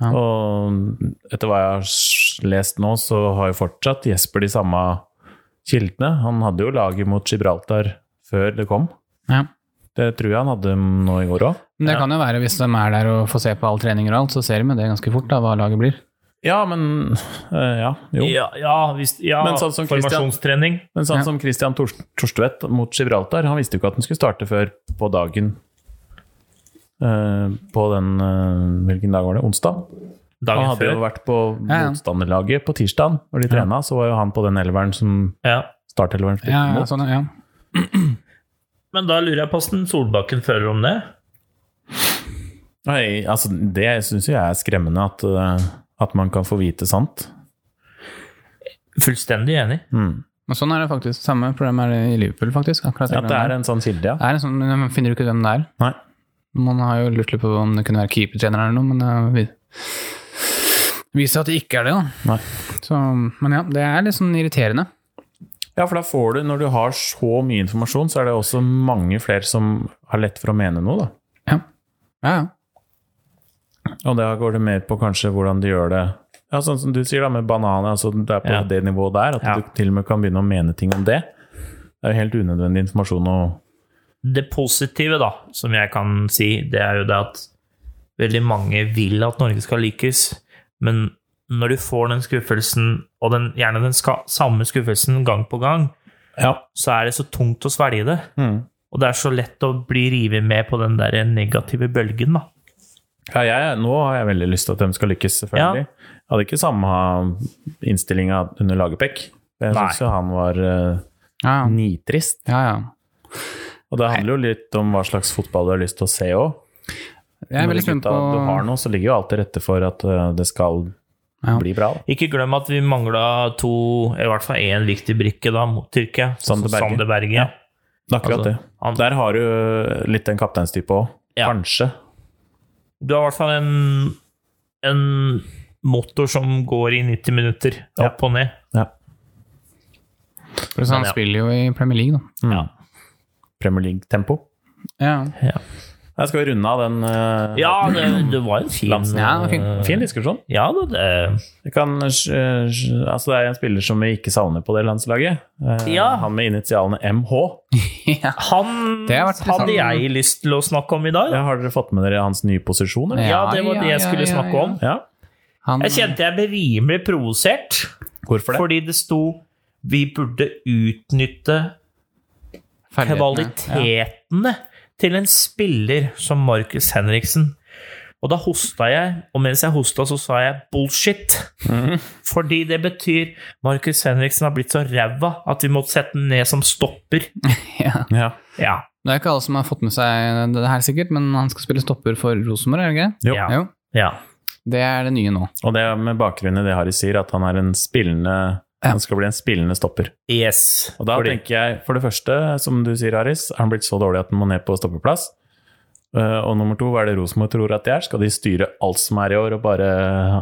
Speaker 3: Ja.
Speaker 1: Og etter hva jeg har s- lest nå, så har jo fortsatt Jesper de samme kildene. Han hadde jo laget mot Gibraltar før det kom.
Speaker 3: Ja.
Speaker 1: Det tror jeg han hadde nå i går òg.
Speaker 3: Men det
Speaker 2: Ja.
Speaker 3: kan jo være, hvis de er der og får se på all trening og alt, så ser de jo det ganske fort, da, hva laget blir.
Speaker 1: Ja, men eh, Ja, jo.
Speaker 2: Ja, ja, hvis, ja
Speaker 1: Men sånn som Christian-
Speaker 2: formasjonstrening.
Speaker 1: Men sånn
Speaker 3: Ja.
Speaker 1: som Christian Tors Torstvedt mot Gibraltar, han visste jo ikke at han skulle starte før på dagen eh, På den eh, Hvilken dag var det? Onsdag? Han
Speaker 2: Dagen
Speaker 1: hadde jo
Speaker 2: før.
Speaker 1: vært på
Speaker 3: Ja, ja.
Speaker 1: motstanderlaget på tirsdag, når de trena. Så var jo han på den elveren som
Speaker 2: Ja.
Speaker 1: startelveren spilte
Speaker 3: Ja, ja,
Speaker 1: mot.
Speaker 3: sånn, ja.
Speaker 2: Men da lurer jeg på hvordan Solbakken føler om det.
Speaker 1: Nei, altså, det syns jeg er skremmende, at, eh, at man kan få vite sant.
Speaker 2: Fullstendig enig.
Speaker 1: Mm.
Speaker 3: Men sånn er det faktisk. Samme problem er det i Liverpool, faktisk. Akkurat
Speaker 1: At det er en sånn kilde, ja.
Speaker 3: det er en sånn, men man finner jo ikke hvem det er.
Speaker 1: Nei.
Speaker 3: Man har jo lurt litt på om det kunne være keepertrener eller noe, men det vi- viser at det ikke er det, da.
Speaker 1: Nei.
Speaker 3: Så, men ja, det er litt sånn irriterende.
Speaker 1: Ja, for da får du, når du har så mye informasjon, så er det også mange flere som har lett for å mene noe, da.
Speaker 3: Ja, ja. ja.
Speaker 1: Og da går det mer på kanskje hvordan de gjør det Ja, sånn som du sier da, med bananer, altså det er på
Speaker 2: Ja.
Speaker 1: det nivået der, at
Speaker 2: Ja.
Speaker 1: du til og med kan begynne å mene ting om det. Det er jo helt unødvendig informasjon å
Speaker 2: Det positive, da, som jeg kan si, det er jo det at veldig mange vil at Norge skal lykkes, men når du får den skuffelsen, og den, gjerne den ska, samme skuffelsen gang på gang,
Speaker 1: Ja.
Speaker 2: så er det så tungt å svelge det.
Speaker 1: Mm.
Speaker 2: Og det er så lett å bli revet med på den der negative bølgen, da.
Speaker 1: Ja, jeg, nå har jeg veldig lyst til at de skal lykkes, selvfølgelig. Jeg hadde ikke samme innstillinga under Lagerbäck. Jeg
Speaker 2: Nei.
Speaker 1: syns jo han var eh,
Speaker 3: ja.
Speaker 1: nitrist.
Speaker 3: ja, ja.
Speaker 1: Og det handler jo litt om hva slags fotball du har lyst til å se òg.
Speaker 3: Jeg er veldig spent på
Speaker 1: du har noe, så ligger jo alt til rette for at eh, det skal
Speaker 3: Ja.
Speaker 1: bli bra. Da.
Speaker 2: Ikke glem at vi mangla to, i hvert fall én viktig brikke da, mot Tyrkia.
Speaker 1: Sander Berge.
Speaker 2: Sander Berge.
Speaker 1: Ja. Det er Akkurat
Speaker 2: Altså,
Speaker 1: det.
Speaker 2: han-
Speaker 1: Der har du litt den kapteinstype òg.
Speaker 2: Ja.
Speaker 1: Kanskje.
Speaker 2: Du har i hvert fall en, en motor som går i 90 minutter,
Speaker 1: Ja.
Speaker 2: opp og ned.
Speaker 1: Ja.
Speaker 3: For Han
Speaker 2: ja.
Speaker 3: spiller jo i Premier League, da.
Speaker 1: Mm. Premier League-tempo.
Speaker 3: Ja,
Speaker 2: Ja,
Speaker 1: Her skal vi runde av den eh,
Speaker 2: det, det var en fin
Speaker 1: Lansen.
Speaker 3: Ja, det var fin.
Speaker 1: Fin diskusjon.
Speaker 2: Ja, det, det
Speaker 1: Vi kan, eh, eh, altså det er en spiller som vi ikke savner på det landslaget. Eh,
Speaker 2: Ja.
Speaker 1: Han med initialene MH. Eh,
Speaker 3: ja.
Speaker 2: Han
Speaker 3: Det har vært litt
Speaker 2: hadde
Speaker 3: sånn-
Speaker 2: jeg lyst til å snakke om i dag.
Speaker 1: Ja, har dere fått med dere hans nye posisjon? eller?
Speaker 2: Ja,
Speaker 3: Ja,
Speaker 2: det var
Speaker 3: ja,
Speaker 2: det jeg
Speaker 3: ja,
Speaker 2: skulle
Speaker 3: ja,
Speaker 2: snakke
Speaker 3: ja.
Speaker 2: om.
Speaker 1: Ja.
Speaker 3: Han,
Speaker 2: Jeg kjente jeg ble rimelig provosert,
Speaker 1: Hvorfor det?
Speaker 2: fordi det sto vi burde utnytte
Speaker 3: ferdighetene. Ja.
Speaker 2: kvalitetene til en spiller som Markus Henriksen. Og da hosta jeg, og mens jeg hosta, så sa jeg bullshit.
Speaker 1: Mhm.
Speaker 2: Fordi det betyr Markus Henriksen har blitt så ræva at vi måtte sette den ned som stopper.
Speaker 3: Ja.
Speaker 1: Ja.
Speaker 2: Ja.
Speaker 3: Det er ikke alle som har fått med seg det her, sikkert, men han skal spille stopper for Rosenborg, er det ikke?
Speaker 1: Jo.
Speaker 2: Ja.
Speaker 3: Jo.
Speaker 2: ja.
Speaker 3: Det er det nye nå.
Speaker 1: Og det er med bakgrunn i det Harry sier, at han er en spillende
Speaker 3: Ja.
Speaker 1: han skal bli en spillende stopper.
Speaker 2: Yes.
Speaker 1: Og da
Speaker 2: Fordi-
Speaker 1: tenker jeg, for det første, som du sier, Haris, er han blitt så dårlig at han må ned på stoppeplass? Eh, Og nummer to, hva er det Rosenborg tror at de er? Skal de styre alt som er i år, og bare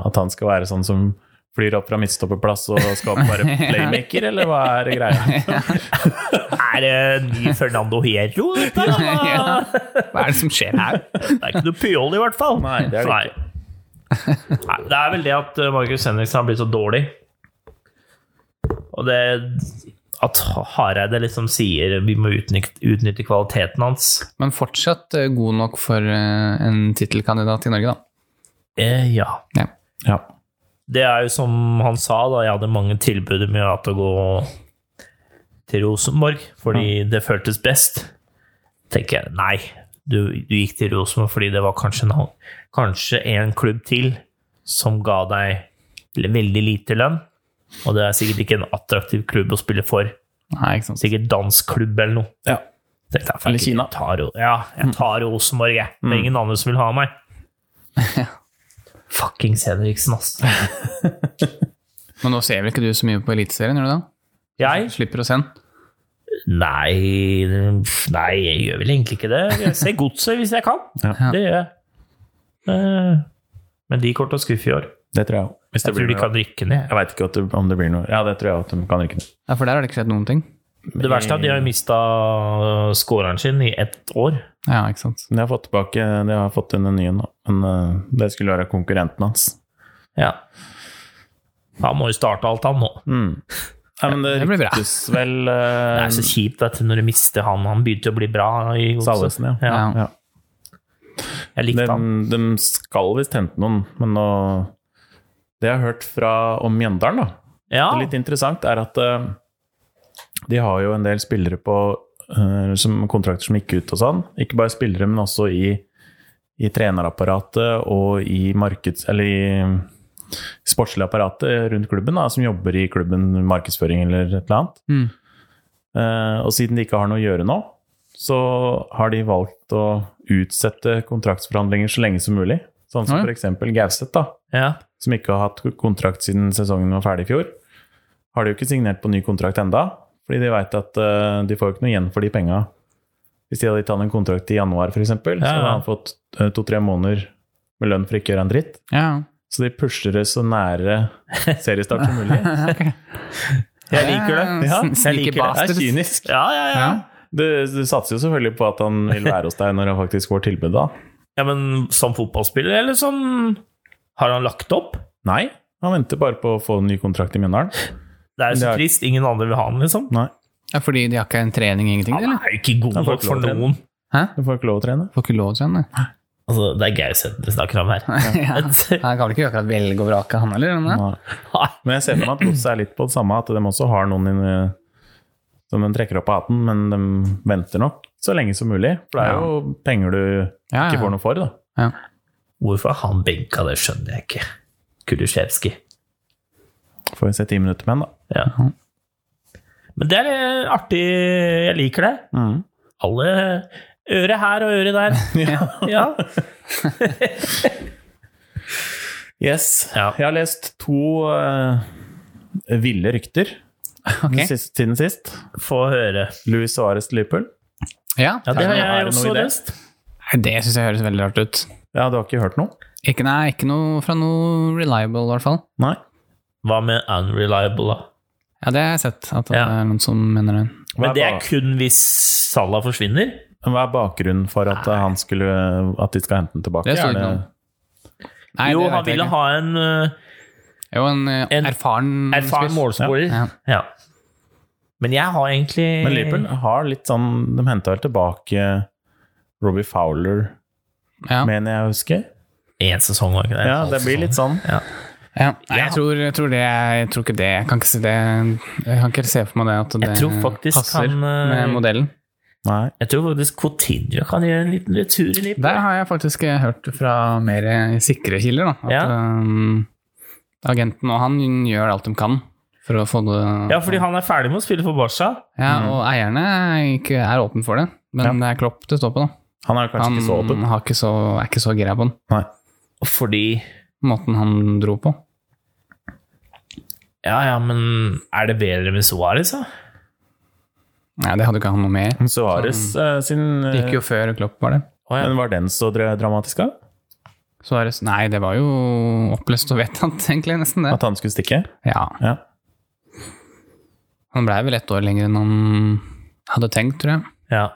Speaker 1: at han skal være sånn som flyr opp fra midtstopperplass og skal opp og være playmaker, eller hva er greia?
Speaker 2: Er det ny Fernando Hierro, dette?
Speaker 3: Ja.
Speaker 2: da?
Speaker 3: Hva er det som skjer her?
Speaker 2: Det er ikke noe Pyol, i hvert fall.
Speaker 1: Nei, det er det
Speaker 2: ikke. Nei, det er vel det at eh, Markus Henriksen har blitt så dårlig. Og det at Hareide liksom sier vi må utnytte, utnytte kvaliteten hans.
Speaker 3: Men fortsatt eh, god nok for eh, en tittelkandidat i Norge, da.
Speaker 2: Eh, ja.
Speaker 3: Ja.
Speaker 1: Ja.
Speaker 2: Det er jo som han sa, da. Jeg hadde mange tilbud om jeg hadde å gå til Rosenborg, fordi det føltes best. tenker jeg, nei, du, du gikk til Rosenborg fordi det var kanskje en, halv- kanskje en klubb til som ga deg veldig lite lønn, og det er sikkert ikke en attraktiv klubb å spille for.
Speaker 3: Nei, ikke sant.
Speaker 2: Sikkert dansk klubb eller noe.
Speaker 1: Ja.
Speaker 2: Tenkte jeg, fuck
Speaker 1: Eller
Speaker 2: it,
Speaker 1: Kina. Mm.
Speaker 2: jeg Tar, Ro- ja, jeg tar Rosenborg, jeg. Det er ingen andre som vil ha meg. Fuckings Henriksen, ass.
Speaker 3: Men nå ser vel ikke du så mye på Eliteserien, gjør du det?
Speaker 2: Jeg
Speaker 3: Slipper å se den?
Speaker 2: Nei, pff, nei, jeg gjør vel egentlig ikke det. Jeg ser godset hvis jeg kan.
Speaker 1: Ja.
Speaker 2: Det gjør jeg. Eh, Men de kommer til å skuffe i år.
Speaker 1: Det tror jeg òg. Hvis det
Speaker 2: Jeg tror
Speaker 1: blir
Speaker 2: de
Speaker 1: noe.
Speaker 2: kan rykke ned.
Speaker 1: Jeg veit ikke at det- om det blir noe Ja, det tror jeg at de kan rykke ned.
Speaker 3: Ja, for der har det ikke skjedd noen ting.
Speaker 2: Det verste er at de har mista scoreren sin i ett år.
Speaker 3: Ja, ikke sant.
Speaker 1: Men jeg har fått tilbake De har fått inn en ny en, da. Men eh, det skulle være konkurrenten hans.
Speaker 2: Ja. Han må jo starte alt, han nå.
Speaker 1: Mm. Nei, men det
Speaker 3: Det blir bra.
Speaker 1: ryktes vel
Speaker 2: Det
Speaker 1: eh,
Speaker 2: er så kjipt vet du, når du mister han. Han begynte å bli bra i godset.
Speaker 1: Salvesen, ja.
Speaker 2: Ja,
Speaker 3: Ja.
Speaker 1: ja.
Speaker 2: jeg likte han.
Speaker 1: De, de skal visst hente noen, men nå Det jeg har hørt fra om Mjøndalen, da,
Speaker 2: Ja,
Speaker 1: det litt interessant, er at eh, de har jo en del spillere på eh, som kontrakter som gikk ut og sånn. Ikke bare spillere, men også i, i trenerapparatet og i markeds... Eller i sportslig apparatet rundt klubben, da, som jobber i klubben markedsføring eller et eller annet.
Speaker 3: Mm.
Speaker 1: Eh, og siden de ikke har noe å gjøre nå, så har de valgt å utsette kontraktsforhandlinger så lenge som mulig. Sånn som
Speaker 3: Ja.
Speaker 1: f.eks. Gauseth, da,
Speaker 2: ja.
Speaker 1: som ikke har hatt kontrakt siden sesongen var ferdig i fjor. Har de jo ikke signert på ny kontrakt enda, fordi de veit at eh, de får jo ikke noe igjen for de penga. Hvis de hadde gitt han en kontrakt i januar, f.eks., eksempel så
Speaker 2: Ja, ja.
Speaker 1: hadde han fått eh, to-tre måneder med lønn for ikke å gjøre en dritt.
Speaker 3: Ja.
Speaker 1: Så de pusher det så nære seriestart som mulig.
Speaker 2: Jeg liker det.
Speaker 1: Ja, jeg
Speaker 3: Sn-
Speaker 1: liker
Speaker 3: sneaky
Speaker 1: det. Det
Speaker 3: bastards.
Speaker 1: er kynisk.
Speaker 2: Ja, ja, ja.
Speaker 3: Ja.
Speaker 1: Du, du satser jo selvfølgelig på at han vil være hos deg når han faktisk får tilbud, da.
Speaker 2: ja men som fotballspiller, eller som Har han lagt opp?
Speaker 1: Nei, han venter bare på å få en ny kontrakt i Mjøndalen.
Speaker 2: Det er jo
Speaker 1: Det
Speaker 2: så
Speaker 1: er-
Speaker 2: trist. Ingen andre vil ha han, liksom.
Speaker 1: Nei,
Speaker 3: ja, fordi de har ikke en trening, ingenting,
Speaker 2: Han
Speaker 3: eller?
Speaker 2: er jo ikke god
Speaker 1: Han får
Speaker 2: nok
Speaker 1: ikke
Speaker 2: for
Speaker 1: lov til det.
Speaker 2: noen.
Speaker 3: Hæ?
Speaker 1: du får ikke lov å trene.
Speaker 3: Får ikke lov til henne.
Speaker 2: Altså, det er Gauseth vi snakker om her.
Speaker 3: Ja. Han kan vel ikke akkurat velge og vrake, han heller? eller?
Speaker 1: Nei. Men jeg ser for meg at godset er litt på det samme, at de også har noen inne, som de trekker opp av hatten, men de venter nok så lenge som mulig. For det er jo penger du
Speaker 3: Ja,
Speaker 1: ikke
Speaker 3: ja.
Speaker 1: får noe for, da.
Speaker 3: Ja.
Speaker 2: Hvorfor er han benka, det skjønner jeg ikke. Kulisjevskij.
Speaker 1: Får vi se ti minutter med en, da.
Speaker 2: Ja. Men det er eh, artig. Jeg liker det. alle Øret her og øret der. ja.
Speaker 1: Yes.
Speaker 2: Ja.
Speaker 1: Jeg har lest to eh, ville rykter den siste, siden sist.
Speaker 2: Få høre.
Speaker 1: Louis Suárez til Liverpool.
Speaker 3: Ja,
Speaker 2: Ja, det har
Speaker 1: Er
Speaker 2: jeg
Speaker 1: det noe
Speaker 2: også
Speaker 1: i det?
Speaker 2: lest.
Speaker 3: det syns jeg høres veldig rart ut.
Speaker 1: Ja, du har ikke hørt noe?
Speaker 3: Ikke, nei, ikke noe fra noe reliable, i hvert fall.
Speaker 1: Nei.
Speaker 2: Hva med unreliable, da?
Speaker 3: Ja, det har jeg sett, at det
Speaker 2: Ja.
Speaker 3: er noen som mener det.
Speaker 1: Hva
Speaker 2: Men
Speaker 1: er
Speaker 2: det er
Speaker 1: bak-
Speaker 2: kun hvis Salah forsvinner?
Speaker 1: Hva er bakgrunnen for at eh, han skulle At de skal hente den tilbake?
Speaker 3: Det står
Speaker 1: Er
Speaker 3: ikke noe om. Nei,
Speaker 2: jo,
Speaker 3: det vet
Speaker 2: han
Speaker 3: jeg
Speaker 2: ville
Speaker 3: ikke.
Speaker 2: ha en eh,
Speaker 3: Jo, en, eh,
Speaker 2: en
Speaker 3: erfaren,
Speaker 2: erfaren
Speaker 3: spiss.
Speaker 2: målskårer.
Speaker 3: Ja.
Speaker 2: Ja. Men jeg har egentlig
Speaker 1: Men Liverpool har litt sånn De henta vel tilbake Robbie Fowler,
Speaker 3: Ja.
Speaker 1: mener jeg å huske.
Speaker 2: Én sesong, var ikke det?
Speaker 1: Ja, det blir litt sånn.
Speaker 2: Ja.
Speaker 3: Ja, nei, jeg, tror, jeg tror det Jeg tror ikke det Jeg kan ikke se, det, jeg kan ikke se for meg det at det
Speaker 2: tror faktisk
Speaker 3: passer
Speaker 2: han, eh,
Speaker 3: med modellen.
Speaker 1: Nei.
Speaker 2: Jeg tror faktisk Coutinho kan gjøre en liten retur i Liverpool.
Speaker 3: Der har jeg faktisk eh, hørt det fra mer eh, sikre kilder, da. At
Speaker 2: Ja.
Speaker 3: eh, agenten og han gjør alt de kan for å få det
Speaker 2: Ja, Mm. fordi han er ferdig med å spille for Barca.
Speaker 3: Ja, og eierne er, ikke, er åpne for det, men
Speaker 1: Ja.
Speaker 3: det er Klopp det står på, da.
Speaker 1: Han er jo kanskje
Speaker 3: Han
Speaker 1: ikke så åpen.
Speaker 3: har ikke så, er ikke så gira på den
Speaker 1: Nei.
Speaker 2: Fordi
Speaker 3: måten han dro på.
Speaker 2: Ja, ja, men er det bedre med Suárez, da?
Speaker 3: Nei, det hadde ikke han noe med i.
Speaker 1: Suárez eh, sin
Speaker 3: Det gikk jo før Klopp var det.
Speaker 2: Å, ja.
Speaker 1: Men var den så dra- dramatisk, da?
Speaker 3: Suarez Nei, det var jo oppløst og vedtatt, egentlig, nesten det.
Speaker 1: At han skulle stikke?
Speaker 3: Ja.
Speaker 1: Ja.
Speaker 3: Han blei vel ett år lenger enn han hadde tenkt, tror jeg.
Speaker 2: ja.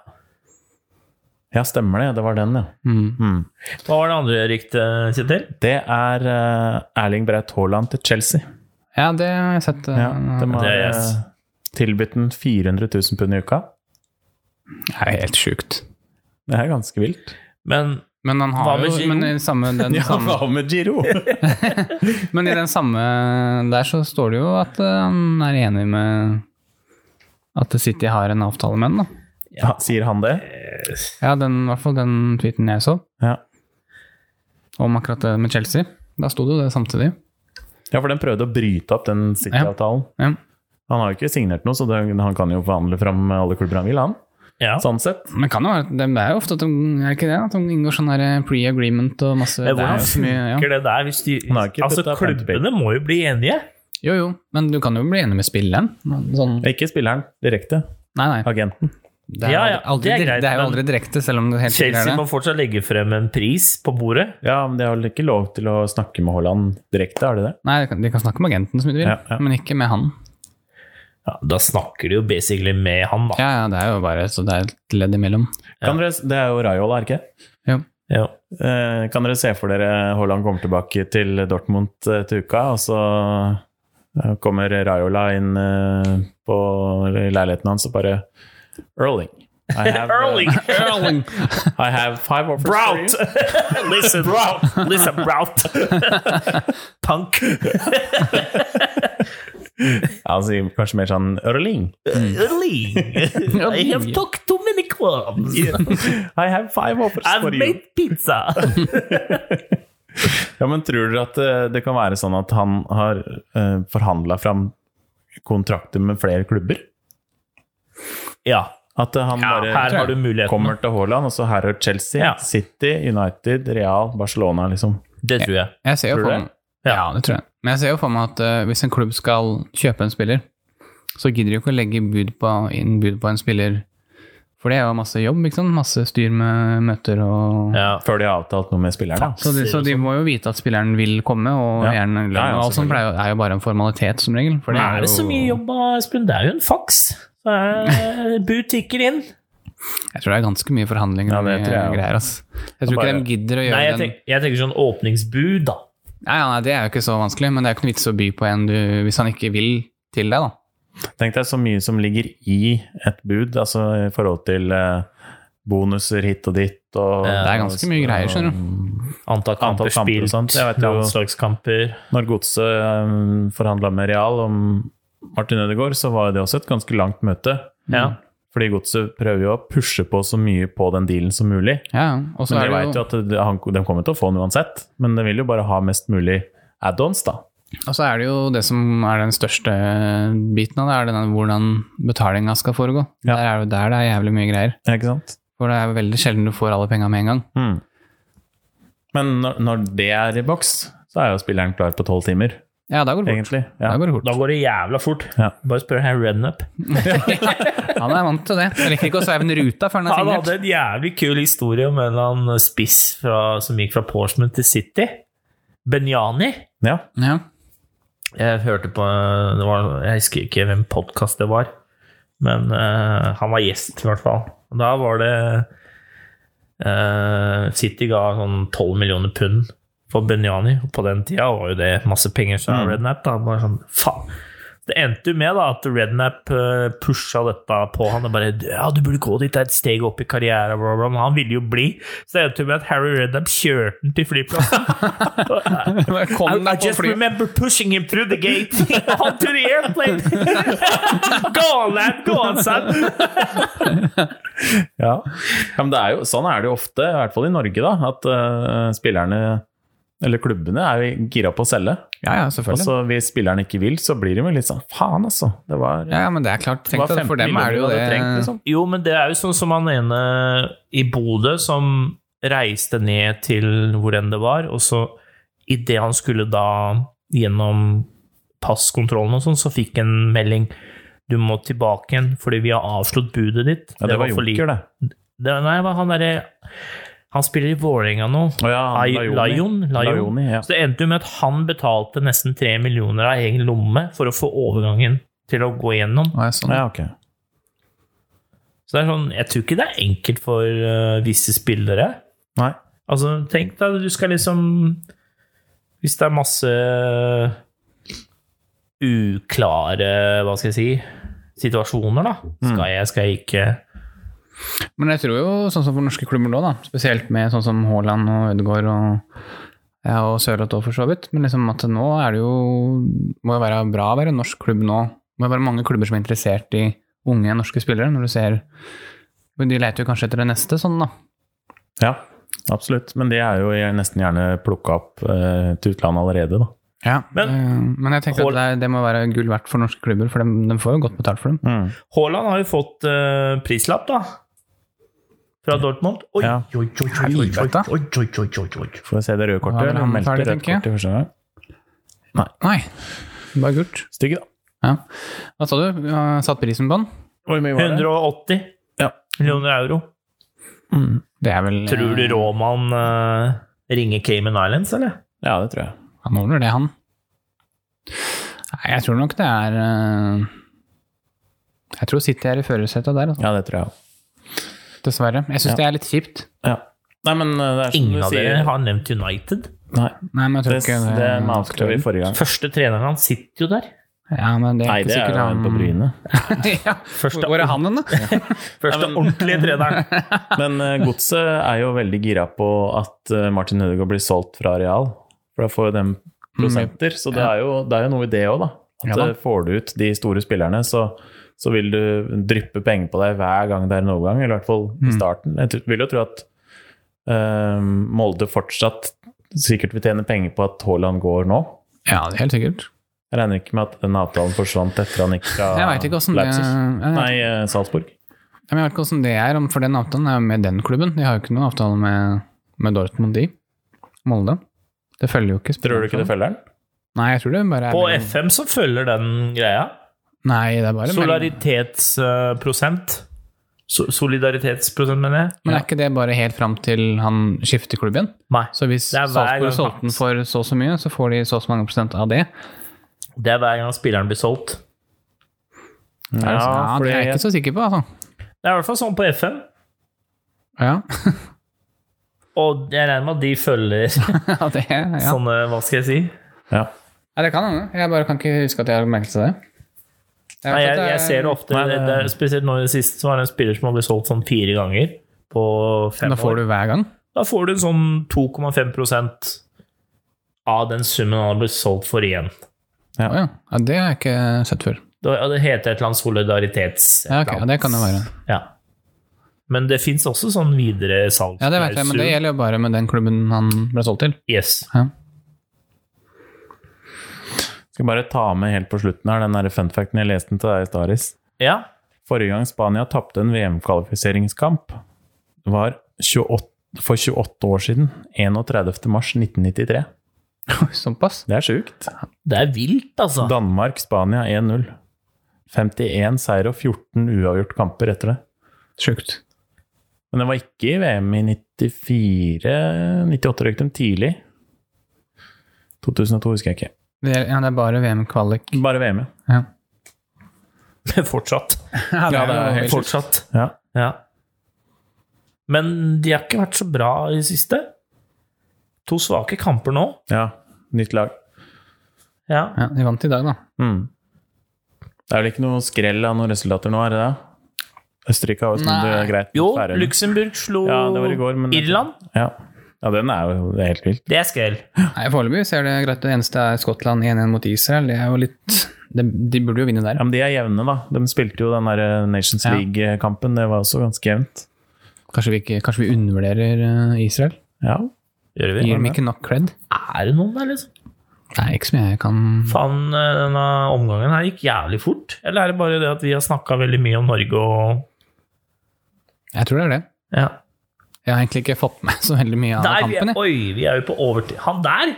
Speaker 1: Ja, stemmer det. Det var den, ja. Mm.
Speaker 2: Hva var det andre ryktet, Kjetil?
Speaker 1: Det er eh, Erling Braut Haaland til Chelsea.
Speaker 3: Ja, det har jeg sett.
Speaker 1: Ja,
Speaker 3: eh,
Speaker 1: de har
Speaker 2: det er yes.
Speaker 1: eh, tilbudt den 400 000 pund i uka.
Speaker 3: Det er helt sjukt.
Speaker 1: Det er ganske vilt.
Speaker 2: Men
Speaker 3: Men han
Speaker 2: Hva
Speaker 3: har
Speaker 2: med
Speaker 3: jo
Speaker 2: Giroud?
Speaker 3: men i, samme, den,
Speaker 1: Ja,
Speaker 3: samme,
Speaker 1: hva med Giro?
Speaker 3: men i den samme der så står det jo at eh, han er enig med at City har en avtale med den, da.
Speaker 1: Ja, sier han det?
Speaker 3: Ja, den, i hvert fall den tweeten jeg så,
Speaker 1: Ja.
Speaker 3: om akkurat det med Chelsea. Da sto det jo det samtidig.
Speaker 1: ja, for den prøvde å bryte opp den City-avtalen.
Speaker 3: Ja.
Speaker 1: Han har jo ikke signert noe, så det, han kan jo forhandle fram alle klubber han vil, han.
Speaker 2: ja.
Speaker 1: Sånn sett.
Speaker 3: Men kan jo være, det er jo ofte at de, er det ikke det, at de inngår sånn her pre-agreement og masse
Speaker 2: Men
Speaker 3: det er
Speaker 2: hvordan
Speaker 3: jo så mye, ja.
Speaker 2: funker det der? Hvis de,
Speaker 1: Han har ikke
Speaker 2: altså,
Speaker 1: puttet
Speaker 2: klubbene må jo bli enige.
Speaker 3: Jo, jo, men du kan jo bli enig med spilleren. Sånn,
Speaker 1: Ikke spilleren direkte,
Speaker 3: nei, nei.
Speaker 1: agenten.
Speaker 3: Det er,
Speaker 2: Ja, ja,
Speaker 3: aldri,
Speaker 2: det er greit,
Speaker 3: det er jo
Speaker 2: men-
Speaker 3: aldri direkte, selv om det helt sikkert
Speaker 2: Chelsea
Speaker 3: er
Speaker 2: må
Speaker 3: det.
Speaker 2: fortsatt legge frem en pris på bordet.
Speaker 1: Ja, men de har vel ikke lov til å snakke med Haaland direkte, har de det?
Speaker 3: Nei, de kan, de kan snakke med agenten som de vil,
Speaker 1: Ja, ja.
Speaker 3: men ikke med han.
Speaker 2: Ja, da snakker de jo basically med han, da.
Speaker 3: Ja, ja, det er jo bare så det er et ledd imellom.
Speaker 1: Kan dere, det er jo Raiola, er det ikke?
Speaker 3: Ja.
Speaker 2: Ja.
Speaker 1: Eh, Kan dere se for dere Haaland kommer tilbake til Dortmund eh, til uka, og så eh, kommer Raiola inn eh, på i leiligheten hans og bare Erling. I have, eh,
Speaker 2: Erling!
Speaker 3: Erling!
Speaker 1: I have five offers for
Speaker 2: Brout!
Speaker 1: you.
Speaker 2: Listen, Brout! Listen, Brout! Punk!
Speaker 1: Ja, han sier kanskje mer sånn Erling.
Speaker 2: Erling! I have talked to many clubs.
Speaker 1: I have five offers
Speaker 2: I've
Speaker 1: for you.
Speaker 2: made pizza!
Speaker 1: Ja, men tror dere at eh, det kan være sånn at han har uh, forhandla fram kontrakter med flere klubber?
Speaker 2: Ja,
Speaker 1: At eh, han
Speaker 2: ja
Speaker 1: bare
Speaker 2: her har du muligheten.
Speaker 1: kommer til Haaland, og så her er Chelsea,
Speaker 2: Ja.
Speaker 1: City, United, Real, Barcelona, liksom.
Speaker 2: Det tror jeg.
Speaker 3: Jeg ser jo
Speaker 1: Tror du
Speaker 3: for
Speaker 1: det?
Speaker 3: meg ja, det tror jeg. Men jeg ser jo for meg at eh, hvis en klubb skal kjøpe en spiller, så gidder de jo ikke å legge bud på, inn bud på en spiller. For det er jo masse jobb, ikke sant? Masse styr med møter og
Speaker 2: Ja.
Speaker 1: Før de har avtalt noe med spillerne.
Speaker 3: Så de, så de må jo vite at spilleren vil komme, og
Speaker 1: sånn. Ja.
Speaker 3: gjerne lønn.
Speaker 1: Ja, ja,
Speaker 3: og alt sånt
Speaker 1: selvfølgelig.
Speaker 3: pleier jo- er jo bare en formalitet, som regel. For det
Speaker 2: Er
Speaker 3: er,
Speaker 2: det så mye
Speaker 3: jo,
Speaker 2: jobb, da, Espen? Det er jo en faks. Så er- Bud tikker inn.
Speaker 3: jeg tror det er ganske mye forhandlinger
Speaker 1: Ja,
Speaker 3: og
Speaker 1: det
Speaker 3: mye
Speaker 1: tror jeg også.
Speaker 3: greier. ass. Jeg tror
Speaker 1: bare-
Speaker 3: ikke de gidder å gjøre
Speaker 2: Nei, jeg,
Speaker 3: den
Speaker 2: tenk, jeg tenker sånn åpningsbud, da.
Speaker 3: nei, ja, nei, Det er jo ikke så vanskelig, men det er jo ikke noe vits å by på en du, hvis han ikke vil til deg, da.
Speaker 1: Tenk deg så mye som ligger i et bud, altså i forhold til eh, bonuser hit og dit. Og,
Speaker 2: Ja,
Speaker 3: Det er ganske mye greier, skjønner du.
Speaker 2: Antall kamper
Speaker 1: Antall kamper og
Speaker 2: spilt,
Speaker 1: sånt. Jeg vet jo-
Speaker 2: landslagskamper
Speaker 1: Når Godset um, forhandla med Real om Martin Ødegaard, så var det også et ganske langt møte.
Speaker 2: Ja.
Speaker 1: Fordi Godset prøver jo å pushe på så mye på den dealen som mulig.
Speaker 3: Ja, ja. og
Speaker 1: Men
Speaker 3: så er
Speaker 1: de
Speaker 3: det
Speaker 1: vet jo
Speaker 3: jo
Speaker 1: at det- han, de kommer til å få den uansett. Men de vil jo bare ha mest mulig add-ons, da.
Speaker 3: Og så er det jo det som er den største biten av det, er denne, hvordan betalinga skal foregå.
Speaker 1: Ja.
Speaker 3: Der er jo der det er jævlig mye greier.
Speaker 1: Ikke sant?
Speaker 3: For det er jo veldig sjelden du får alle penga med en gang.
Speaker 1: Mm. Men når, når det er i boks, så er jo spilleren klar på tolv timer,
Speaker 3: Ja, da går det fort.
Speaker 1: egentlig. Ja.
Speaker 3: Da går det fort.
Speaker 2: Da går det jævla fort.
Speaker 1: Ja.
Speaker 2: Bare spør her Rednup.
Speaker 3: Han er vant til det. Jeg rekker ikke å sveive en ruta før han er
Speaker 2: Han
Speaker 3: signert.
Speaker 2: hadde en jævlig kul historie om en eller annen spiss fra, som gikk fra Portsmouth til City. Benjani.
Speaker 1: Ja.
Speaker 3: Ja.
Speaker 2: Jeg hørte på det var, Jeg husker ikke hvem podkast det var, men eh, han var gjest, i hvert fall. Og Da var det eh, City ga sånn 12 millioner pund for Benjani, og på den tida var jo det masse penger fra
Speaker 1: Mm.
Speaker 2: Rednap. Da. Bare sånn, faen. Det endte jo med da, at Rednap eh, pusha dette på han. Og bare, ja, du burde gå dit, det er et steg opp i karrieren. Bla, bla, bla. Men han ville jo bli. Så det endte jo med at Harry Rednap kjørte han til flyplassen. eh, I,
Speaker 3: Kom
Speaker 2: I
Speaker 3: deg på
Speaker 2: just
Speaker 3: flyet.
Speaker 2: remember pushing him through the gate onto the airplane. go on, lad. Go on, son.
Speaker 1: ja. ja men det er jo, sånn er det jo ofte, i hvert fall i Norge, da, at eh, spillerne eller klubbene er jo gira på å selge.
Speaker 3: Ja, ja,
Speaker 1: Og
Speaker 3: selvfølgelig.
Speaker 1: så hvis spilleren ikke vil, så blir de jo litt sånn Faen, altså. Det var,
Speaker 3: Ja, ja, men det er klart.
Speaker 1: det
Speaker 3: Tenk
Speaker 1: var
Speaker 3: deg,
Speaker 1: 15
Speaker 3: for dem er det jo
Speaker 1: millioner du hadde trengt,
Speaker 3: det
Speaker 1: liksom.
Speaker 2: Jo, men det er jo sånn som han ene i Bodø som reiste ned til hvor enn det var, og så idet han skulle da gjennom passkontrollen og sånn, så fikk en melding du må tilbake igjen fordi vi har avslått budet ditt.
Speaker 1: Ja, det, var
Speaker 2: for lite.
Speaker 1: Joker, det.
Speaker 2: Det, nei, det var han derre Han spiller i Vålerenga nå.
Speaker 1: Å ja, han
Speaker 2: Ai- Lion, Lion.
Speaker 1: Lioni, ja.
Speaker 2: Så det endte jo med at han betalte nesten tre millioner av egen lomme for å få overgangen til å gå gjennom.
Speaker 3: Å, ja, sånn.
Speaker 1: ja, ok.
Speaker 2: Så det er sånn, jeg tror ikke det er enkelt for eh, visse spillere.
Speaker 1: Nei.
Speaker 2: Altså, tenk deg, du skal liksom Hvis det er masse uklare, hva skal jeg si, situasjoner, da.
Speaker 1: Mm.
Speaker 2: Skal jeg, skal jeg ikke
Speaker 3: Men jeg tror jo, sånn som for norske klubber nå, da, spesielt med sånn som Haaland og Ødegaard og, ja, og Sørloth òg, for så vidt, men liksom at nå er det jo Må jo være bra å være en norsk klubb nå. Det må jo være mange klubber som er interessert i unge norske spillere, når du ser Men de leter jo kanskje etter det neste, sånn, da.
Speaker 1: Ja, absolutt. Men de er jo nesten gjerne plukka opp eh, til utlandet allerede, da.
Speaker 3: Ja,
Speaker 2: Men-
Speaker 3: men, Eh, men jeg tenker at det, er- det må være gull verdt for norske klubber, for de, de får jo godt betalt for dem.
Speaker 1: Mm.
Speaker 2: Haaland har jo fått eh, prislapp, da. Fra Dortmund. Oi,
Speaker 1: Ja.
Speaker 2: oi, oi, oi, oi, oi,
Speaker 3: Helvete.
Speaker 2: oi, oi, oi, oi, oi.
Speaker 1: Får vi se det røde
Speaker 3: Da
Speaker 1: kortet?
Speaker 3: er vel
Speaker 1: Eller
Speaker 3: han
Speaker 1: han meldte
Speaker 3: ferdig,
Speaker 1: rødt
Speaker 3: tenker jeg.
Speaker 1: kort i første gang.
Speaker 3: Nei, bare gult.
Speaker 1: Stygg, da.
Speaker 3: Ja. Hva sa du? Ja, Satt prisen på den?
Speaker 1: Hvor mye
Speaker 2: 180
Speaker 1: Ja.
Speaker 2: millioner euro.
Speaker 1: Mm.
Speaker 3: Det er vel
Speaker 2: Tror du Råman eh, ringer Cayman Islands, eller?
Speaker 1: Ja, det tror jeg.
Speaker 3: Han ordner det, han. Nei, jeg tror nok det er eh, Jeg tror City er i førersetet der, altså.
Speaker 1: Ja, det tror jeg også.
Speaker 3: dessverre. Jeg syns det er litt kjipt.
Speaker 1: ja. Nei, men eh, det er som
Speaker 2: Ingen
Speaker 1: du
Speaker 2: av
Speaker 1: sier
Speaker 2: dere har nevnt United.
Speaker 1: Nei,
Speaker 3: Nei, men jeg
Speaker 1: det,
Speaker 3: tror ikke det,
Speaker 1: det avslørte vi forrige gang.
Speaker 2: Første treneren hans sitter jo der.
Speaker 3: Ja, men det er
Speaker 1: Nei,
Speaker 3: ikke
Speaker 1: det er
Speaker 3: sikkert
Speaker 1: jo
Speaker 3: han
Speaker 1: en på Bryne.
Speaker 3: ja.
Speaker 2: Første-
Speaker 3: Hvor er han hen, da?
Speaker 2: Første
Speaker 1: Ja, men-
Speaker 2: ordentlige treneren.
Speaker 1: Men eh, Godset er jo veldig gira på at eh, Martin Ødegaard blir solgt fra Real. For da får jo dem prosenter. Så det er jo, det er jo noe i det òg, da. At
Speaker 3: Mm, Ja da.
Speaker 1: eh, får du ut de store spillerne, så, så vil du dryppe penger på deg hver gang det er en overgang. Eller i hvert fall
Speaker 3: Mm.
Speaker 1: i starten. Jeg tr- vil jo tro at eh, Molde fortsatt sikkert vil tjene penger på at Haaland går nå.
Speaker 3: Ja, det er helt sikkert.
Speaker 1: Jeg regner ikke med at den avtalen forsvant etter han gikk fra
Speaker 3: Jeg veit ikke åssen det
Speaker 1: Leipzig.
Speaker 3: jeg-
Speaker 1: Nei, eh, Salzburg.
Speaker 3: Ja, men Jeg vet ikke hvordan det er, om- for den avtalen er jo med den klubben. De har jo ikke noen avtale med, med Dortmund, de. Molde. Det følger jo ikke.
Speaker 1: Tror du ikke det følger den?
Speaker 3: Nei, jeg tror det bare er
Speaker 2: På
Speaker 3: mellom-
Speaker 2: FM så følger den greia.
Speaker 3: Nei, det er bare mellom-
Speaker 2: Solidaritetsprosent. So solidaritetsprosent, mener jeg.
Speaker 3: Men er ikke det bare helt fram til han skifter klubb igjen?
Speaker 2: Nei.
Speaker 3: Så hvis
Speaker 2: Det er hver gang
Speaker 3: Salzburg solgte den
Speaker 2: faktisk.
Speaker 3: for så og så mye, så får de så og så mange prosent av det?
Speaker 2: Det er hver gang spilleren blir solgt.
Speaker 3: Ja, ja,
Speaker 1: for
Speaker 3: det er jeg ikke så sikker på, altså.
Speaker 2: Det er i hvert fall sånn på FM.
Speaker 3: Ja,
Speaker 2: Og jeg regner med at de følger
Speaker 3: ja det ja.
Speaker 2: sånne Hva skal jeg si?
Speaker 1: ja.
Speaker 3: ja, det kan hende. Jeg bare kan ikke huske at jeg har merket det. Jeg,
Speaker 2: Nei,
Speaker 3: vet
Speaker 2: jeg,
Speaker 3: at det er-
Speaker 2: jeg ser det ofte.
Speaker 1: Nei,
Speaker 2: det,
Speaker 1: det-
Speaker 2: er, spesielt nå i det siste så var det en spiller som har blitt solgt sånn fire ganger på fem
Speaker 3: Da får
Speaker 2: år.
Speaker 3: du hver gang.
Speaker 2: Da får du en sånn 2,5 av den summen han har blitt solgt for igjen.
Speaker 3: Å ja. ja, det har jeg ikke sett før.
Speaker 2: Det, ja, det heter et eller annet solidaritets...
Speaker 3: Ja, ok, ja, det kan det være.
Speaker 2: Ja. Men det fins også sånn videre salgsklausul.
Speaker 3: Ja, det vet jeg, men det gjelder jo bare med den klubben han ble solgt til.
Speaker 2: Yes.
Speaker 3: Ja.
Speaker 1: Skal bare ta med helt på slutten her den der funfacten jeg leste den til deg i Staris.
Speaker 2: Ja.
Speaker 1: Forrige gang Spania tapte en VM-kvalifiseringskamp, var 28, for 28 år siden. 31. mars 1993.
Speaker 3: Såpass.
Speaker 1: Det er sjukt.
Speaker 2: Det er vilt, altså.
Speaker 1: Danmark-Spania 1-0. 51 seier og 14 uavgjort kamper etter det.
Speaker 3: Sjukt.
Speaker 1: Men det var ikke i VM i 94 98 røyk dem tidlig. 2002 husker jeg ikke.
Speaker 3: Det er, ja, det er bare VM-kvalik.
Speaker 1: Bare VM, ja.
Speaker 3: Ja.
Speaker 2: Fortsatt.
Speaker 3: Ja,
Speaker 1: det er helt
Speaker 3: sjukt.
Speaker 2: Fortsatt.
Speaker 1: ja.
Speaker 2: Ja. Men de har ikke vært så bra i det siste. To svake kamper nå.
Speaker 1: ja. Nytt lag.
Speaker 2: Ja.
Speaker 3: Ja, de vant i dag, da.
Speaker 1: Mm. Det er vel ikke noe skrell av noen resultater nå, er det det? Østerrike har jo snudd det
Speaker 3: Nei.
Speaker 1: greit. mot
Speaker 2: Jo,
Speaker 1: Færøyene.
Speaker 2: Luxembourg slo
Speaker 1: Ja, det var i går, men
Speaker 2: Irland.
Speaker 1: Ja. ja, den er jo det er helt vilt.
Speaker 2: Det er skrell.
Speaker 3: Nei, Foreløpig ser det greit ut. Det eneste er Skottland 1-1 mot Israel. Det er jo litt De, de burde jo vinne der.
Speaker 1: Ja, Men de er jevne, da. De spilte jo den der eh, Nations
Speaker 3: Ja.
Speaker 1: League-kampen. Det var også ganske jevnt.
Speaker 3: Kanskje vi, ikke, kanskje vi undervurderer eh, Israel?
Speaker 1: Ja.
Speaker 2: Gjør vi?
Speaker 3: Gir dem ikke nok cred?
Speaker 2: Er det noen der, liksom?
Speaker 3: Nei, ikke som jeg kan
Speaker 2: Faen, eh, denne omgangen her gikk jævlig fort. Eller er det bare det at vi har snakka veldig mye om Norge og
Speaker 3: Jeg tror det er det.
Speaker 2: ja.
Speaker 3: Jeg har egentlig ikke fått med så veldig mye av
Speaker 2: Der, vi er,
Speaker 3: kampen. jeg.
Speaker 2: oi, vi er jo på overtid. Han der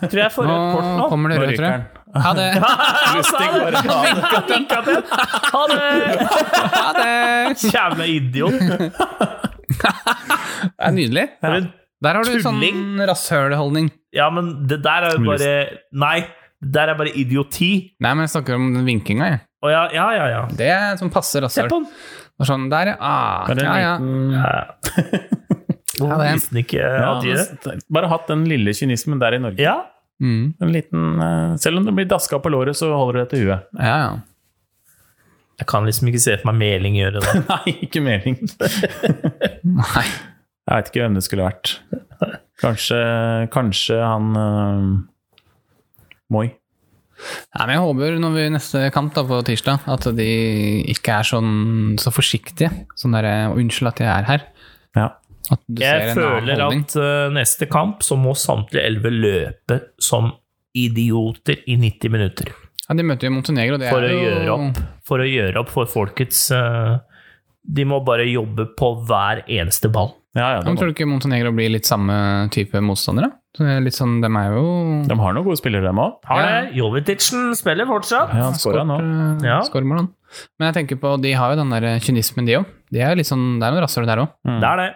Speaker 2: tror jeg får rødt kort
Speaker 3: Nå
Speaker 2: nå.
Speaker 3: kommer det
Speaker 1: Nå
Speaker 3: rødt, tror
Speaker 1: ryker
Speaker 3: jeg. Ha det!
Speaker 2: Han sa det! Vinka, vinka til. Ha det!
Speaker 3: Ha det!
Speaker 2: eh, Jævla idiot.
Speaker 3: Det er nydelig.
Speaker 2: Er du
Speaker 3: Der har du
Speaker 2: Tulling.
Speaker 3: sånn rasshølholdning.
Speaker 2: Ja, men det der er jo bare Nei, det der er bare idioti.
Speaker 3: Nei, men jeg snakker om den vinkinga, jeg.
Speaker 2: Å ja, ja, ja. ja.
Speaker 3: Det er sånn passe
Speaker 2: Se
Speaker 3: rasshøl.
Speaker 2: på den!
Speaker 3: Og Sånn der, ja. Ah,
Speaker 1: Bare en
Speaker 3: ja, ja.
Speaker 1: liten-
Speaker 2: Ja. Hvorfor
Speaker 3: det.
Speaker 2: visste den Eh, ikke
Speaker 1: Ja,
Speaker 2: at de det?
Speaker 1: bare hatt den lille kynismen der i Norge.
Speaker 2: Ja.
Speaker 3: Mm.
Speaker 1: En liten, eh, selv om det blir daska på låret, så holder det til huet.
Speaker 3: Mm. ja, ja.
Speaker 2: Jeg kan liksom ikke se for meg Meling gjøre det.
Speaker 1: Nei, ikke mening.
Speaker 3: Nei.
Speaker 1: Jeg veit ikke hvem det skulle vært. Kanskje, kanskje han eh, Moi.
Speaker 3: Nei, men Jeg håper når vi neste kamp da på tirsdag, at de ikke er sånn så forsiktige. Sånn derre 'unnskyld at jeg er her'.
Speaker 1: Ja.
Speaker 3: At du ser
Speaker 2: Jeg
Speaker 3: en annen
Speaker 2: føler
Speaker 3: holdning.
Speaker 2: at eh, neste kamp så må samtlige elleve løpe som idioter i 90 minutter.
Speaker 3: Ja, de møter jo Montenegro, det
Speaker 2: For
Speaker 3: er
Speaker 2: å
Speaker 3: jo
Speaker 2: gjøre opp for, å gjøre opp for folkets eh, De må bare jobbe på hver eneste ball.
Speaker 1: Ja, ja,
Speaker 3: Ja, men
Speaker 1: de,
Speaker 3: Tror du ikke Montenegro blir litt samme type motstandere? Så det er Litt sånn, De er jo
Speaker 1: de har noen gode spillere, dem òg.
Speaker 2: Har
Speaker 3: Ja.
Speaker 2: det. Joveticen spiller fortsatt.
Speaker 1: Ja, han skåra nå.
Speaker 3: eh,
Speaker 2: Ja.
Speaker 3: skårer mål, han. Men jeg tenker på, de har jo den der eh, kynismen, de òg. De er jo litt sånn, det er noe rasshøl der òg.
Speaker 2: Det er det.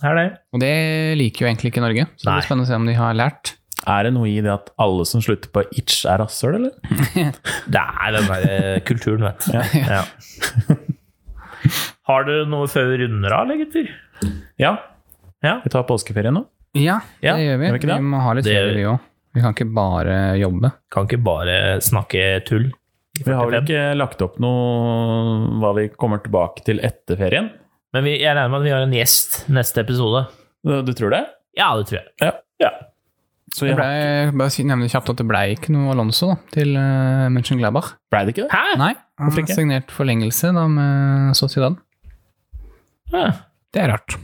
Speaker 2: Det er det.
Speaker 3: Og det liker jo egentlig ikke Norge. Så det
Speaker 2: Nei.
Speaker 3: blir spennende å se om de har lært.
Speaker 1: Er det noe i det at alle som slutter på itch, er rasshøl, eller?
Speaker 2: Det er den der eh, kulturen, vet du. Ja. Har dere noe før vi runder av, eller, gutter?
Speaker 1: Ja.
Speaker 2: Ja.
Speaker 1: Vi tar påskeferie nå.
Speaker 3: Ja, det
Speaker 2: Ja,
Speaker 3: gjør vi.
Speaker 1: gjør vi ikke
Speaker 3: vi
Speaker 1: det?
Speaker 3: må ha litt
Speaker 2: Det gjør
Speaker 3: ferie,
Speaker 2: vi.
Speaker 3: vi òg. Vi kan ikke bare jobbe.
Speaker 2: Kan ikke bare snakke tull.
Speaker 1: Vi har vel
Speaker 2: 45.
Speaker 1: ikke lagt opp noe hva vi kommer tilbake til etter ferien?
Speaker 2: Men vi, jeg regner med at vi har en gjest neste episode.
Speaker 1: Du, du tror det?
Speaker 2: Ja, det tror jeg.
Speaker 1: Ja. Så
Speaker 3: Det
Speaker 1: ja.
Speaker 3: ble, bare si- nevne kjapt at det ble ikke noe Alonso da, til uh, Mönchenglaber.
Speaker 1: Ble det ikke det?
Speaker 2: Hæ?
Speaker 3: Nei, han
Speaker 1: Hvorfor
Speaker 3: har
Speaker 1: ikke?
Speaker 3: signert forlengelse da med Sociedad.
Speaker 2: Ja.
Speaker 3: Det er rart.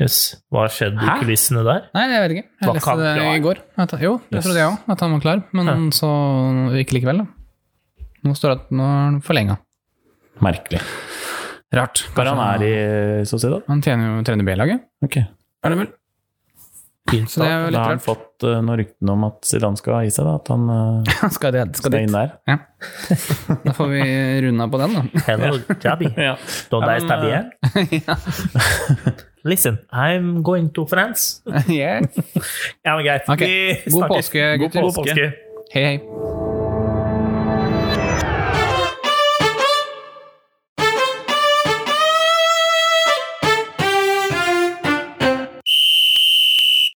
Speaker 2: Jøss. Hva har skjedd i
Speaker 1: Hæ?
Speaker 2: kulissene der?
Speaker 3: Nei, jeg vet ikke.
Speaker 2: Var
Speaker 3: Jeg
Speaker 2: ikke
Speaker 3: leste
Speaker 2: han
Speaker 3: det
Speaker 2: klar?
Speaker 3: i går. At, jo, det
Speaker 1: Yes.
Speaker 3: trodde jeg òg, at han var klar, men
Speaker 2: Ja.
Speaker 3: så ikke likevel, da. Nå står det at nå er han forlenga.
Speaker 1: Merkelig.
Speaker 3: Rart.
Speaker 1: Hva han er i Sociedad?
Speaker 3: han tjener jo trener B-laget.
Speaker 1: Ok.
Speaker 3: Er det vel?
Speaker 2: Fint,
Speaker 3: Så det er
Speaker 1: Da
Speaker 3: jo litt
Speaker 1: har han
Speaker 3: rart.
Speaker 1: fått eh, noen ryktene om at Zidane skal ha i seg, da. At han eh,
Speaker 3: skal det, skal
Speaker 1: skal
Speaker 3: dit.
Speaker 1: inn der.
Speaker 3: Da får vi runda på den, da.
Speaker 2: Hello, Jabby.
Speaker 1: Ja.
Speaker 2: Don't
Speaker 1: Ja,
Speaker 2: I stab
Speaker 1: men,
Speaker 2: you? Listen, I'm going to France.
Speaker 3: yeah.
Speaker 2: Ja, men greit.
Speaker 3: Ok.
Speaker 2: Vi
Speaker 3: God
Speaker 2: snakkes.
Speaker 3: påske,
Speaker 2: God
Speaker 3: gutter.
Speaker 2: påske.
Speaker 3: Hei, hei.